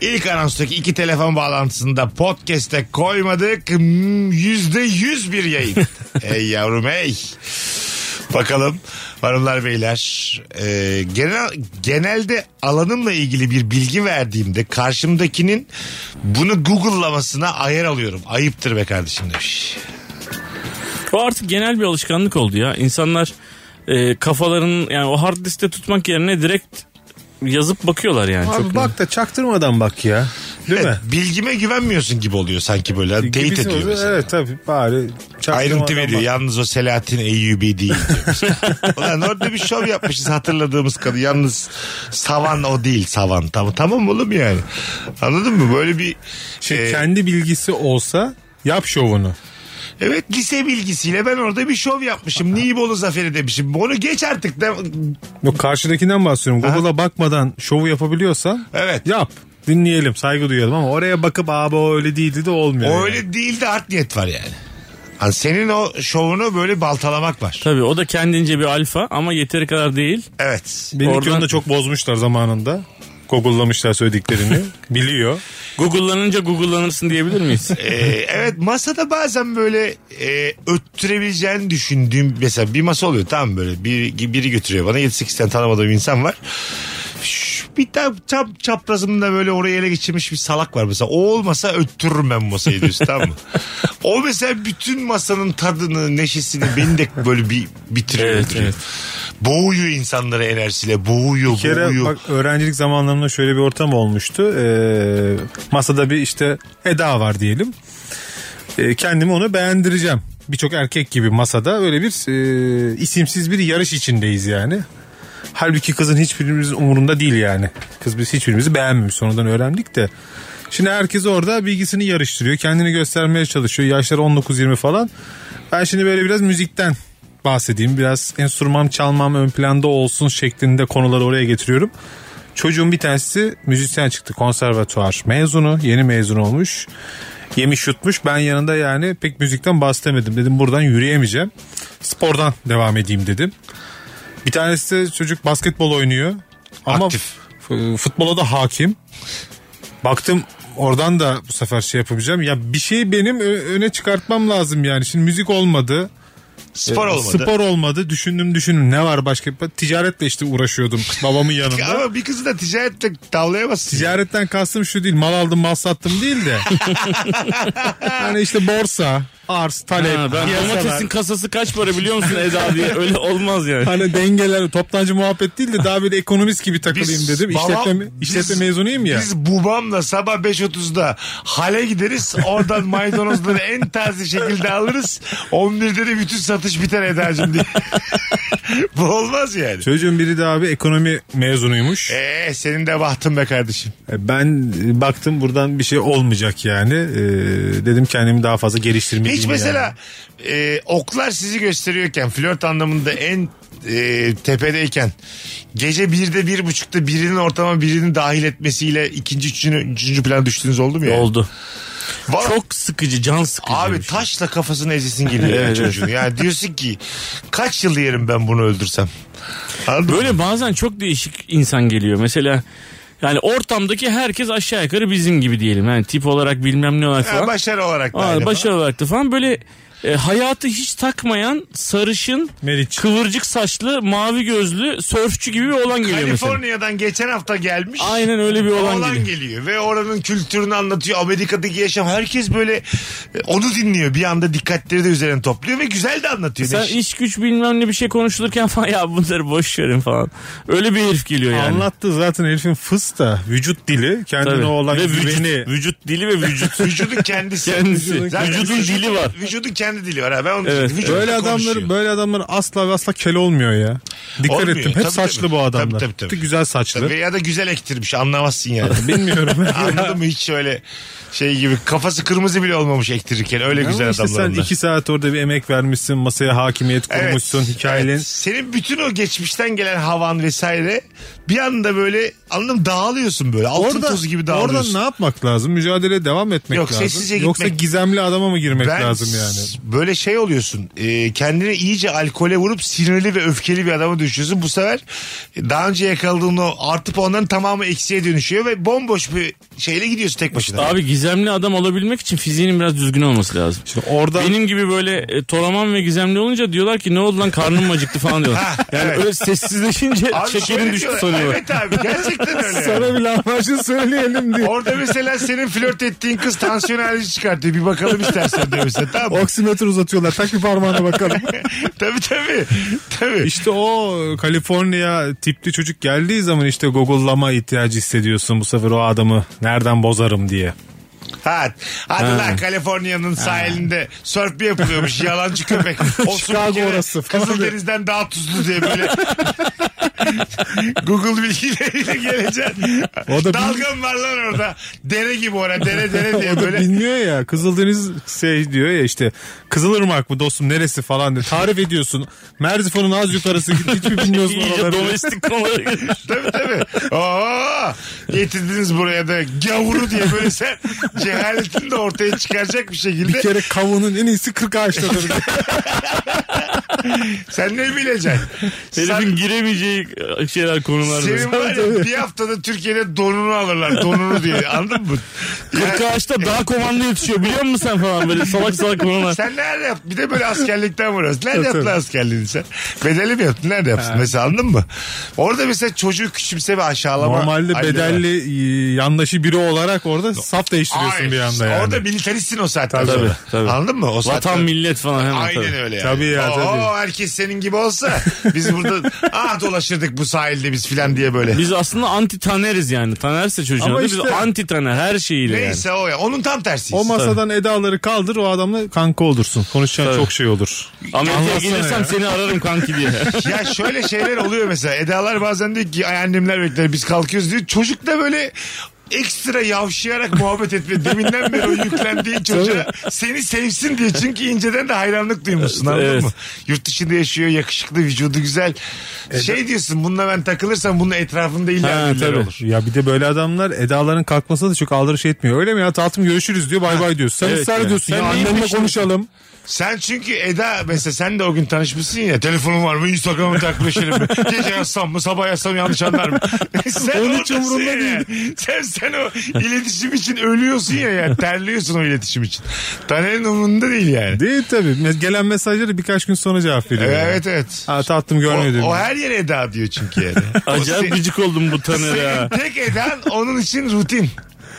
Speaker 3: İlk anonstaki iki telefon bağlantısında podcast'e koymadık. Hmm, Yüzde yüz bir yayın. ey yavrum ey. Bakalım hanımlar beyler e, genel, genelde alanımla ilgili bir bilgi verdiğimde karşımdakinin bunu Google'lamasına ayar alıyorum. Ayıptır be kardeşim demiş.
Speaker 5: O artık genel bir alışkanlık oldu ya. İnsanlar e, kafalarının yani o hard diskte tutmak yerine direkt yazıp bakıyorlar yani.
Speaker 4: Abi
Speaker 5: Çok
Speaker 4: bak da çaktırmadan bak ya. Değil mi?
Speaker 3: Evet, Bilgime güvenmiyorsun gibi oluyor sanki böyle. Hani Teyit
Speaker 4: Gibisin
Speaker 3: ediyor
Speaker 4: o-
Speaker 3: mesela.
Speaker 4: Evet tabii bari çaktırmadan
Speaker 3: Ayrıntı veriyor.
Speaker 4: bak.
Speaker 3: Yalnız o Selahattin Eyyubi değil. diyor mesela. Ulan orada bir şov yapmışız hatırladığımız kadın. Yalnız Savan o değil Savan. Tamam, tamam oğlum yani. Anladın mı? Böyle bir...
Speaker 5: Ee,
Speaker 4: Şimdi
Speaker 3: e,
Speaker 4: kendi bilgisi olsa yap şovunu.
Speaker 3: Evet lise bilgisiyle ben orada bir şov yapmışım. Nibolu Zaferi demişim. Onu geç artık. De...
Speaker 4: Yok karşıdakinden bahsediyorum. Google'a bakmadan şovu yapabiliyorsa
Speaker 3: Evet.
Speaker 4: yap. Dinleyelim saygı duyalım ama oraya bakıp abi o öyle değildi de olmuyor.
Speaker 3: O
Speaker 4: yani.
Speaker 3: öyle değil de art niyet var yani. Hani senin o şovunu böyle baltalamak var.
Speaker 5: Tabii o da kendince bir alfa ama yeteri kadar değil.
Speaker 3: Evet.
Speaker 4: Benim
Speaker 5: Oradan-
Speaker 4: yolunu çok bozmuşlar zamanında. Google'lamışlar söylediklerini. Biliyor.
Speaker 5: Google'lanınca Google'lanırsın diyebilir miyiz?
Speaker 3: Ee, evet masada bazen böyle e, öttürebileceğini düşündüğüm mesela bir masa oluyor tamam böyle biri, biri götürüyor bana 7-8 tane tanımadığım insan var. Şu bir tane çap, çaprazımda böyle orayı ele geçirmiş bir salak var mesela. O olmasa öttürürüm ben bu masayı diyorsun tamam mı? O mesela bütün masanın tadını, neşesini beni de böyle bir bitiriyor.
Speaker 5: Evet,
Speaker 3: öldürüyor.
Speaker 5: evet.
Speaker 3: Boğuyor insanları enerjisiyle. Boğuyor,
Speaker 4: Bir kere
Speaker 3: boğuyor.
Speaker 4: bak, öğrencilik zamanlarında şöyle bir ortam olmuştu. Ee, masada bir işte Eda var diyelim. Ee, kendimi onu beğendireceğim. Birçok erkek gibi masada öyle bir e, isimsiz bir yarış içindeyiz yani. Halbuki kızın hiçbirimizin umurunda değil yani. Kız biz hiçbirimizi beğenmemiş sonradan öğrendik de. Şimdi herkes orada bilgisini yarıştırıyor. Kendini göstermeye çalışıyor. Yaşları 19-20 falan. Ben şimdi böyle biraz müzikten bahsedeyim. Biraz enstrüman çalmam ön planda olsun şeklinde konuları oraya getiriyorum. Çocuğun bir tanesi müzisyen çıktı. Konservatuar mezunu. Yeni mezun olmuş. Yemiş yutmuş. Ben yanında yani pek müzikten bahsedemedim. Dedim buradan yürüyemeyeceğim. Spordan devam edeyim dedim. Bir tanesi de çocuk basketbol oynuyor. Ama
Speaker 3: Aktif.
Speaker 4: f- e, futbola da hakim. Baktım oradan da bu sefer şey yapabileceğim. Ya bir şeyi benim ö- öne çıkartmam lazım yani. Şimdi müzik olmadı.
Speaker 3: Spor olmadı.
Speaker 4: e, Spor olmadı. Düşündüm düşündüm. Ne var başka? Ben Ticaretle işte uğraşıyordum babamın yanında.
Speaker 3: Ama bir kızı da ticaretle tavlayamazsın.
Speaker 4: Ticaretten kastım şu değil. Mal aldım mal sattım değil de. yani işte borsa, arz, talep,
Speaker 5: Ha, ben
Speaker 4: piyasalar.
Speaker 5: domatesin kasası kaç para biliyor musun Eda diye öyle olmaz yani.
Speaker 4: Hani dengeler, toptancı muhabbet değil de daha böyle ekonomist gibi takılayım
Speaker 3: Biz-
Speaker 4: dedim.
Speaker 3: babam-
Speaker 4: İşletme, işletme
Speaker 3: biz-
Speaker 4: mezunuyum ya.
Speaker 3: Biz babamla sabah 5.30'da hale gideriz. Oradan maydanozları en taze şekilde alırız. 11'de de bütün satış biter Eda'cığım diye. Bu olmaz yani.
Speaker 4: Çocuğun biri de abi ekonomi mezunuymuş.
Speaker 3: Eee senin de bahtın be kardeşim.
Speaker 4: Ben e, baktım buradan bir şey olmayacak yani. E, dedim kendimi daha fazla geliştirmeliyim.
Speaker 3: Hiç mesela e, oklar sizi gösteriyorken flört anlamında en e, tepedeyken gece birde bir buçukta birinin ortama birini dahil etmesiyle ikinci üçüncü, üçüncü plana düştüğünüz oldu mu ya?
Speaker 5: Oldu.
Speaker 3: Vallahi-
Speaker 5: Çok sıkıcı, can sıkıcı.
Speaker 3: Abi
Speaker 5: bir şey.
Speaker 3: taşla kafasını ezesin geliyor ya
Speaker 5: Evet,
Speaker 3: çocuğun. Yani diyorsun ki kaç yıl yerim ben bunu öldürsem. Anladın mı?
Speaker 5: Böyle bazen çok değişik insan geliyor. Mesela yani ortamdaki herkes aşağı yukarı bizim gibi diyelim. Yani tip olarak bilmem ne olarak
Speaker 3: Ha,
Speaker 5: falan.
Speaker 3: başarı olarak da aynı
Speaker 5: Aa, başarı
Speaker 3: falan.
Speaker 5: olarak da falan böyle e, hayatı hiç takmayan sarışın
Speaker 4: Meriç.
Speaker 5: kıvırcık saçlı mavi gözlü sörfçü gibi bir olan geliyor mesela.
Speaker 3: Kaliforniya'dan geçen hafta gelmiş.
Speaker 5: Aynen öyle bir olan,
Speaker 3: Olan
Speaker 5: geliyor.
Speaker 3: geliyor ve oranın kültürünü anlatıyor. Amerika'daki yaşam herkes böyle e, onu dinliyor. Bir anda dikkatleri de üzerine topluyor ve güzel de anlatıyor.
Speaker 5: Sen
Speaker 3: Neşe-
Speaker 5: iş güç bilmem ne bir şey konuşulurken falan ya bunları boş verin falan. Öyle bir herif geliyor yani.
Speaker 4: Anlattı zaten herifin fıs da vücut dili kendine
Speaker 5: Tabii.
Speaker 4: olan
Speaker 5: ve vücut,
Speaker 4: güveni.
Speaker 5: vücut dili ve vücut.
Speaker 3: Vücudun kendisi.
Speaker 5: Kendisi.
Speaker 3: Zaten
Speaker 5: Vücudun
Speaker 3: vücudun-
Speaker 5: dili var.
Speaker 3: Vücudun kendi dili var. Ha. Ben onu
Speaker 5: Evet.
Speaker 3: düşündüm. Vücudun
Speaker 4: Böyle adamlar
Speaker 3: konuşuyor.
Speaker 4: böyle adamlar asla ve asla kel olmuyor ya. Dikkat
Speaker 3: Olmuyor.
Speaker 4: ettim. Hep
Speaker 3: Tabii,
Speaker 4: saçlı
Speaker 3: tabii.
Speaker 4: bu adamlar.
Speaker 3: Tabii, tabii, tabii.
Speaker 4: Güzel saçlı.
Speaker 3: Veya da güzel ektirmiş anlamazsın yani.
Speaker 4: Bilmiyorum.
Speaker 3: Anladın mı hiç öyle şey gibi kafası kırmızı bile olmamış ektirirken öyle güzel
Speaker 4: Ama işte
Speaker 3: adamlar
Speaker 4: sen
Speaker 3: onlar.
Speaker 4: iki saat orada bir emek vermişsin. Masaya hakimiyet kurmuşsun. Hikayenin.
Speaker 3: evet. Senin bütün o geçmişten gelen havan vesaire bir anda böyle anladın mı dağılıyorsun böyle. Altın
Speaker 4: Orada,
Speaker 3: tozu gibi
Speaker 4: orada
Speaker 3: dağılıyorsun.
Speaker 4: ne yapmak lazım? Mücadeleye devam etmek
Speaker 3: Yok,
Speaker 4: lazım.
Speaker 3: sessizce gitmek-
Speaker 4: Yoksa gizemli adama mı girmek lazım yani?
Speaker 3: s- Böyle şey oluyorsun. E, kendini iyice alkole vurup sinirli ve öfkeli bir adama dönüşüyorsun. Bu sefer e, daha önce yakaladığın o artıp onların tamamı eksiye dönüşüyor ve bomboş bir şeyle gidiyorsun tek başına.
Speaker 5: Abi gizemli adam olabilmek için fiziğinin biraz düzgün olması lazım.
Speaker 4: Şimdi orada
Speaker 5: Benim gibi böyle e, toraman ve gizemli olunca diyorlar ki ne oldu lan karnım mı acıktı falan diyorlar.
Speaker 3: Ha,
Speaker 5: Yani
Speaker 3: evet.
Speaker 5: öyle sessizleşince
Speaker 3: Abi
Speaker 5: şekerin
Speaker 3: şöyle
Speaker 5: düştü
Speaker 3: diyorlar.
Speaker 5: sanıyorlar.
Speaker 3: Evet abi gerçekten öyle. yani.
Speaker 4: sana bir lahmacun söyleyelim diye.
Speaker 3: Orada mesela senin flört ettiğin kız tansiyon alerji çıkartıyor. Bir bakalım istersen diyor mesela. Tamam. mı?
Speaker 4: Oksimetre uzatıyorlar. Tak bir parmağına bakalım.
Speaker 3: tabii tabii. Tabii.
Speaker 4: İşte o Kaliforniya tipli çocuk geldiği zaman işte Google'lama ihtiyacı hissediyorsun bu sefer o adamı nereden bozarım diye.
Speaker 3: Ha, hadi lan Kaliforniya'nın sahilinde sörf bir yapılıyormuş yalancı köpek. O su bir
Speaker 4: Chicago
Speaker 3: kere
Speaker 4: orası falan.
Speaker 3: Kızıldeniz'den daha tuzlu diye böyle Google bilgileriyle geleceksin.
Speaker 4: O da bil-
Speaker 3: Dalgam var lan orada. Dere gibi orada. Dere dere diye
Speaker 4: o da
Speaker 3: böyle.
Speaker 4: bilmiyor ya. Kızıldeniz şey diyor ya işte Kızılırmak mı dostum neresi falan diye tarif ediyorsun. Merzifon'un az yukarısı hiç mi bilmiyorsun
Speaker 5: İyice
Speaker 4: oraları?
Speaker 5: domestik konulara girmiş.
Speaker 3: tabii tabii. Oo, getirdiniz buraya da gavuru diye böyle sen cehaletini de ortaya çıkaracak bir şekilde.
Speaker 4: Bir kere kavunun en iyisi 40 ağaçtadır.
Speaker 3: Sen ne bileceksin?
Speaker 5: Herifin giremeyeceği şeyler konular.
Speaker 3: Senin
Speaker 5: var.
Speaker 3: var ya bir haftada Türkiye'de donunu alırlar. Donunu diye. Anladın mı? Yani
Speaker 5: Kırkağaç'ta daha komando yetişiyor biliyor musun sen falan böyle salak salak konular.
Speaker 3: sen nerede yaptın? Bir de böyle askerlikten vuruyorsun. Nerede yaptın askerliğini sen? Bedeli mi yaptın? Nerede yaptın? Mesela anladın mı? Orada mesela çocuğu küçümse ve aşağılama.
Speaker 4: Normalde
Speaker 3: halleri var.
Speaker 4: bedelli e, yandaşı biri olarak orada saf değiştiriyorsun
Speaker 3: Hayır,
Speaker 4: bir anda yani.
Speaker 3: Orada militaristsin o saatten
Speaker 5: Tabii,
Speaker 3: sonra.
Speaker 5: tabii.
Speaker 3: Anladın mı? O
Speaker 5: Vatan
Speaker 3: saatten-
Speaker 5: millet falan hemen
Speaker 3: Aynen
Speaker 5: tabii.
Speaker 3: öyle yani.
Speaker 4: Tabii ya,
Speaker 3: Oo,
Speaker 4: tabii.
Speaker 3: herkes senin gibi olsa biz burada ah dolaşırdık bu sahilde biz filan diye böyle.
Speaker 5: Biz aslında anti taneriz yani. Tanerse çocuğun
Speaker 4: Ama
Speaker 5: adı. Biz
Speaker 4: işte-
Speaker 5: anti taner her şeyiyle yani.
Speaker 3: Neyse o ya. Onun tam tersiyiz.
Speaker 4: O masadan edaları kaldır o adamla kanka olursun. Konuşacağın çok şey olur.
Speaker 5: Amerika'ya
Speaker 4: Anlatsana
Speaker 5: gelirsem
Speaker 4: ya.
Speaker 5: seni ararım kanki diye.
Speaker 3: ya şöyle şeyler oluyor mesela. Edalar bazen diyor ki ay annemler bekler biz kalkıyoruz diyor. Çocuk da böyle ekstra yavşayarak muhabbet etme. Deminden beri o yüklendiği çocuğa seni sevsin diye. Çünkü inceden de hayranlık duymuşsun anladın
Speaker 5: Evet.
Speaker 3: mı? Yurt dışında yaşıyor yakışıklı vücudu güzel. Şey diyorsun bununla ben takılırsam bunun etrafında illa
Speaker 5: Ha,
Speaker 3: birileri
Speaker 5: tabii.
Speaker 3: olur.
Speaker 4: Ya bir de böyle adamlar edaların kalkmasına da çok aldırış etmiyor. Öyle mi ya tatlım görüşürüz diyor bay bay diyor. Sen
Speaker 5: Evet
Speaker 4: ısrar
Speaker 5: ya.
Speaker 4: ediyorsun
Speaker 5: Sen
Speaker 4: ya
Speaker 5: neyin
Speaker 4: annemle
Speaker 5: peşinde?
Speaker 4: konuşalım.
Speaker 3: Sen çünkü Eda mesela sen de o gün tanışmışsın ya telefonun var mı Instagram'ı takmışsın mı gece yazsam mı sabah yazsam yanlış anlar mı sen
Speaker 4: Onun hiç
Speaker 3: oradasın
Speaker 4: umurunda
Speaker 3: ya. sen, sen o iletişim için ölüyorsun ya yani terliyorsun o iletişim için Taner'in umurunda değil yani
Speaker 4: Değil tabii. Me- Gelen mesajları birkaç gün sonra cevap veriyor.
Speaker 3: evet evet
Speaker 4: Ha tatlım
Speaker 3: o,
Speaker 4: görmüyor
Speaker 3: o
Speaker 4: diyor.
Speaker 3: her yere Eda diyor çünkü yani O
Speaker 5: Acayip
Speaker 3: se-
Speaker 5: gıcık oldum bu tanere
Speaker 3: senin
Speaker 5: ha.
Speaker 3: tek Eden onun için rutin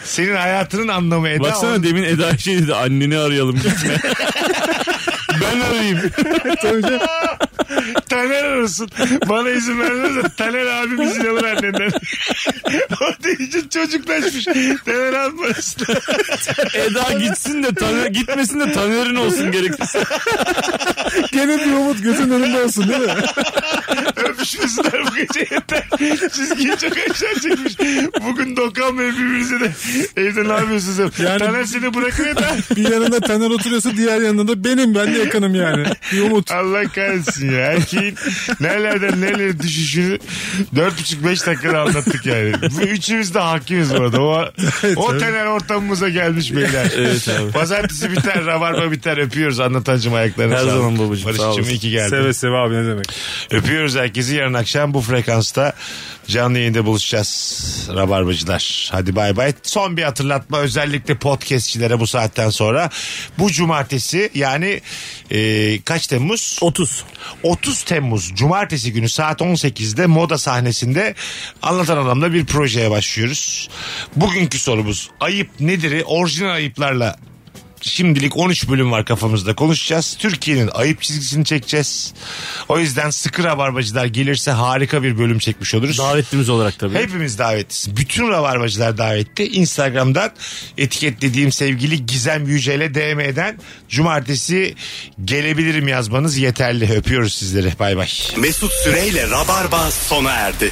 Speaker 3: senin hayatının anlamı Eda onun-
Speaker 5: Baksana demin Eda şey dedi anneni arayalım gitme. ben arayayım.
Speaker 3: Taner arasın. Bana izin vermez de Taner abim izin alır annenden. Orada iyice çocuklaşmış. Taner abim arasın.
Speaker 5: Eda gitsin de taner, gitmesin de tanerin olsun gerekirse.
Speaker 4: Gene bir umut gözün önünde olsun değil mi?
Speaker 3: Öpüşmesinler bu gece yeter. Çizgiyi çok aşağı çekmiş. Bugün dokanmıyor birbirinize de. Evde ne yapıyorsunuz? hep?
Speaker 4: Yani-
Speaker 3: Taner seni bırakır ya da.
Speaker 4: bir yanında Taner oturuyorsa diğer yanında da benim ben de yakınım yani. Bir umut.
Speaker 3: Allah kahretsin ya. Erkeğin nerelerden nerelere düşüşünü 4,5-5 dakikada anlattık yani. Bu üçümüz de hakimiz burada. O, o tener ortamımıza gelmiş beyler.
Speaker 5: Evet abi.
Speaker 3: Pazartesi biter, rabarba biter. Öpüyoruz anlatancım ayaklarına
Speaker 5: Her
Speaker 3: sağlık.
Speaker 5: zaman babacığım, sağ
Speaker 3: Barış'cığım
Speaker 5: olasın.
Speaker 3: iyi ki geldin.
Speaker 4: Seve seve abi ne demek.
Speaker 3: Öpüyoruz herkesi. Yarın akşam bu frekansta canlı yayında buluşacağız. Rabarbacılar. Hadi bay bay. Son bir hatırlatma özellikle podcastçilere bu saatten sonra. Bu cumartesi yani e, kaç Temmuz?
Speaker 5: 30.
Speaker 3: 30 Temmuz Cumartesi günü saat 18'de moda sahnesinde anlatan adamla bir projeye başlıyoruz. Bugünkü sorumuz ayıp nedir? Orijinal ayıplarla şimdilik 13 bölüm var kafamızda konuşacağız. Türkiye'nin ayıp çizgisini çekeceğiz. O yüzden sıkı rabarbacılar gelirse harika bir bölüm çekmiş oluruz.
Speaker 5: Davetlimiz olarak tabii.
Speaker 3: Hepimiz davetliyiz. Bütün rabarbacılar davetli. Instagram'dan etiketlediğim sevgili Gizem Yücel'e DM'den cumartesi gelebilirim yazmanız yeterli. Öpüyoruz sizleri. Bay bay.
Speaker 2: Mesut Süreyle Rabarba sona erdi.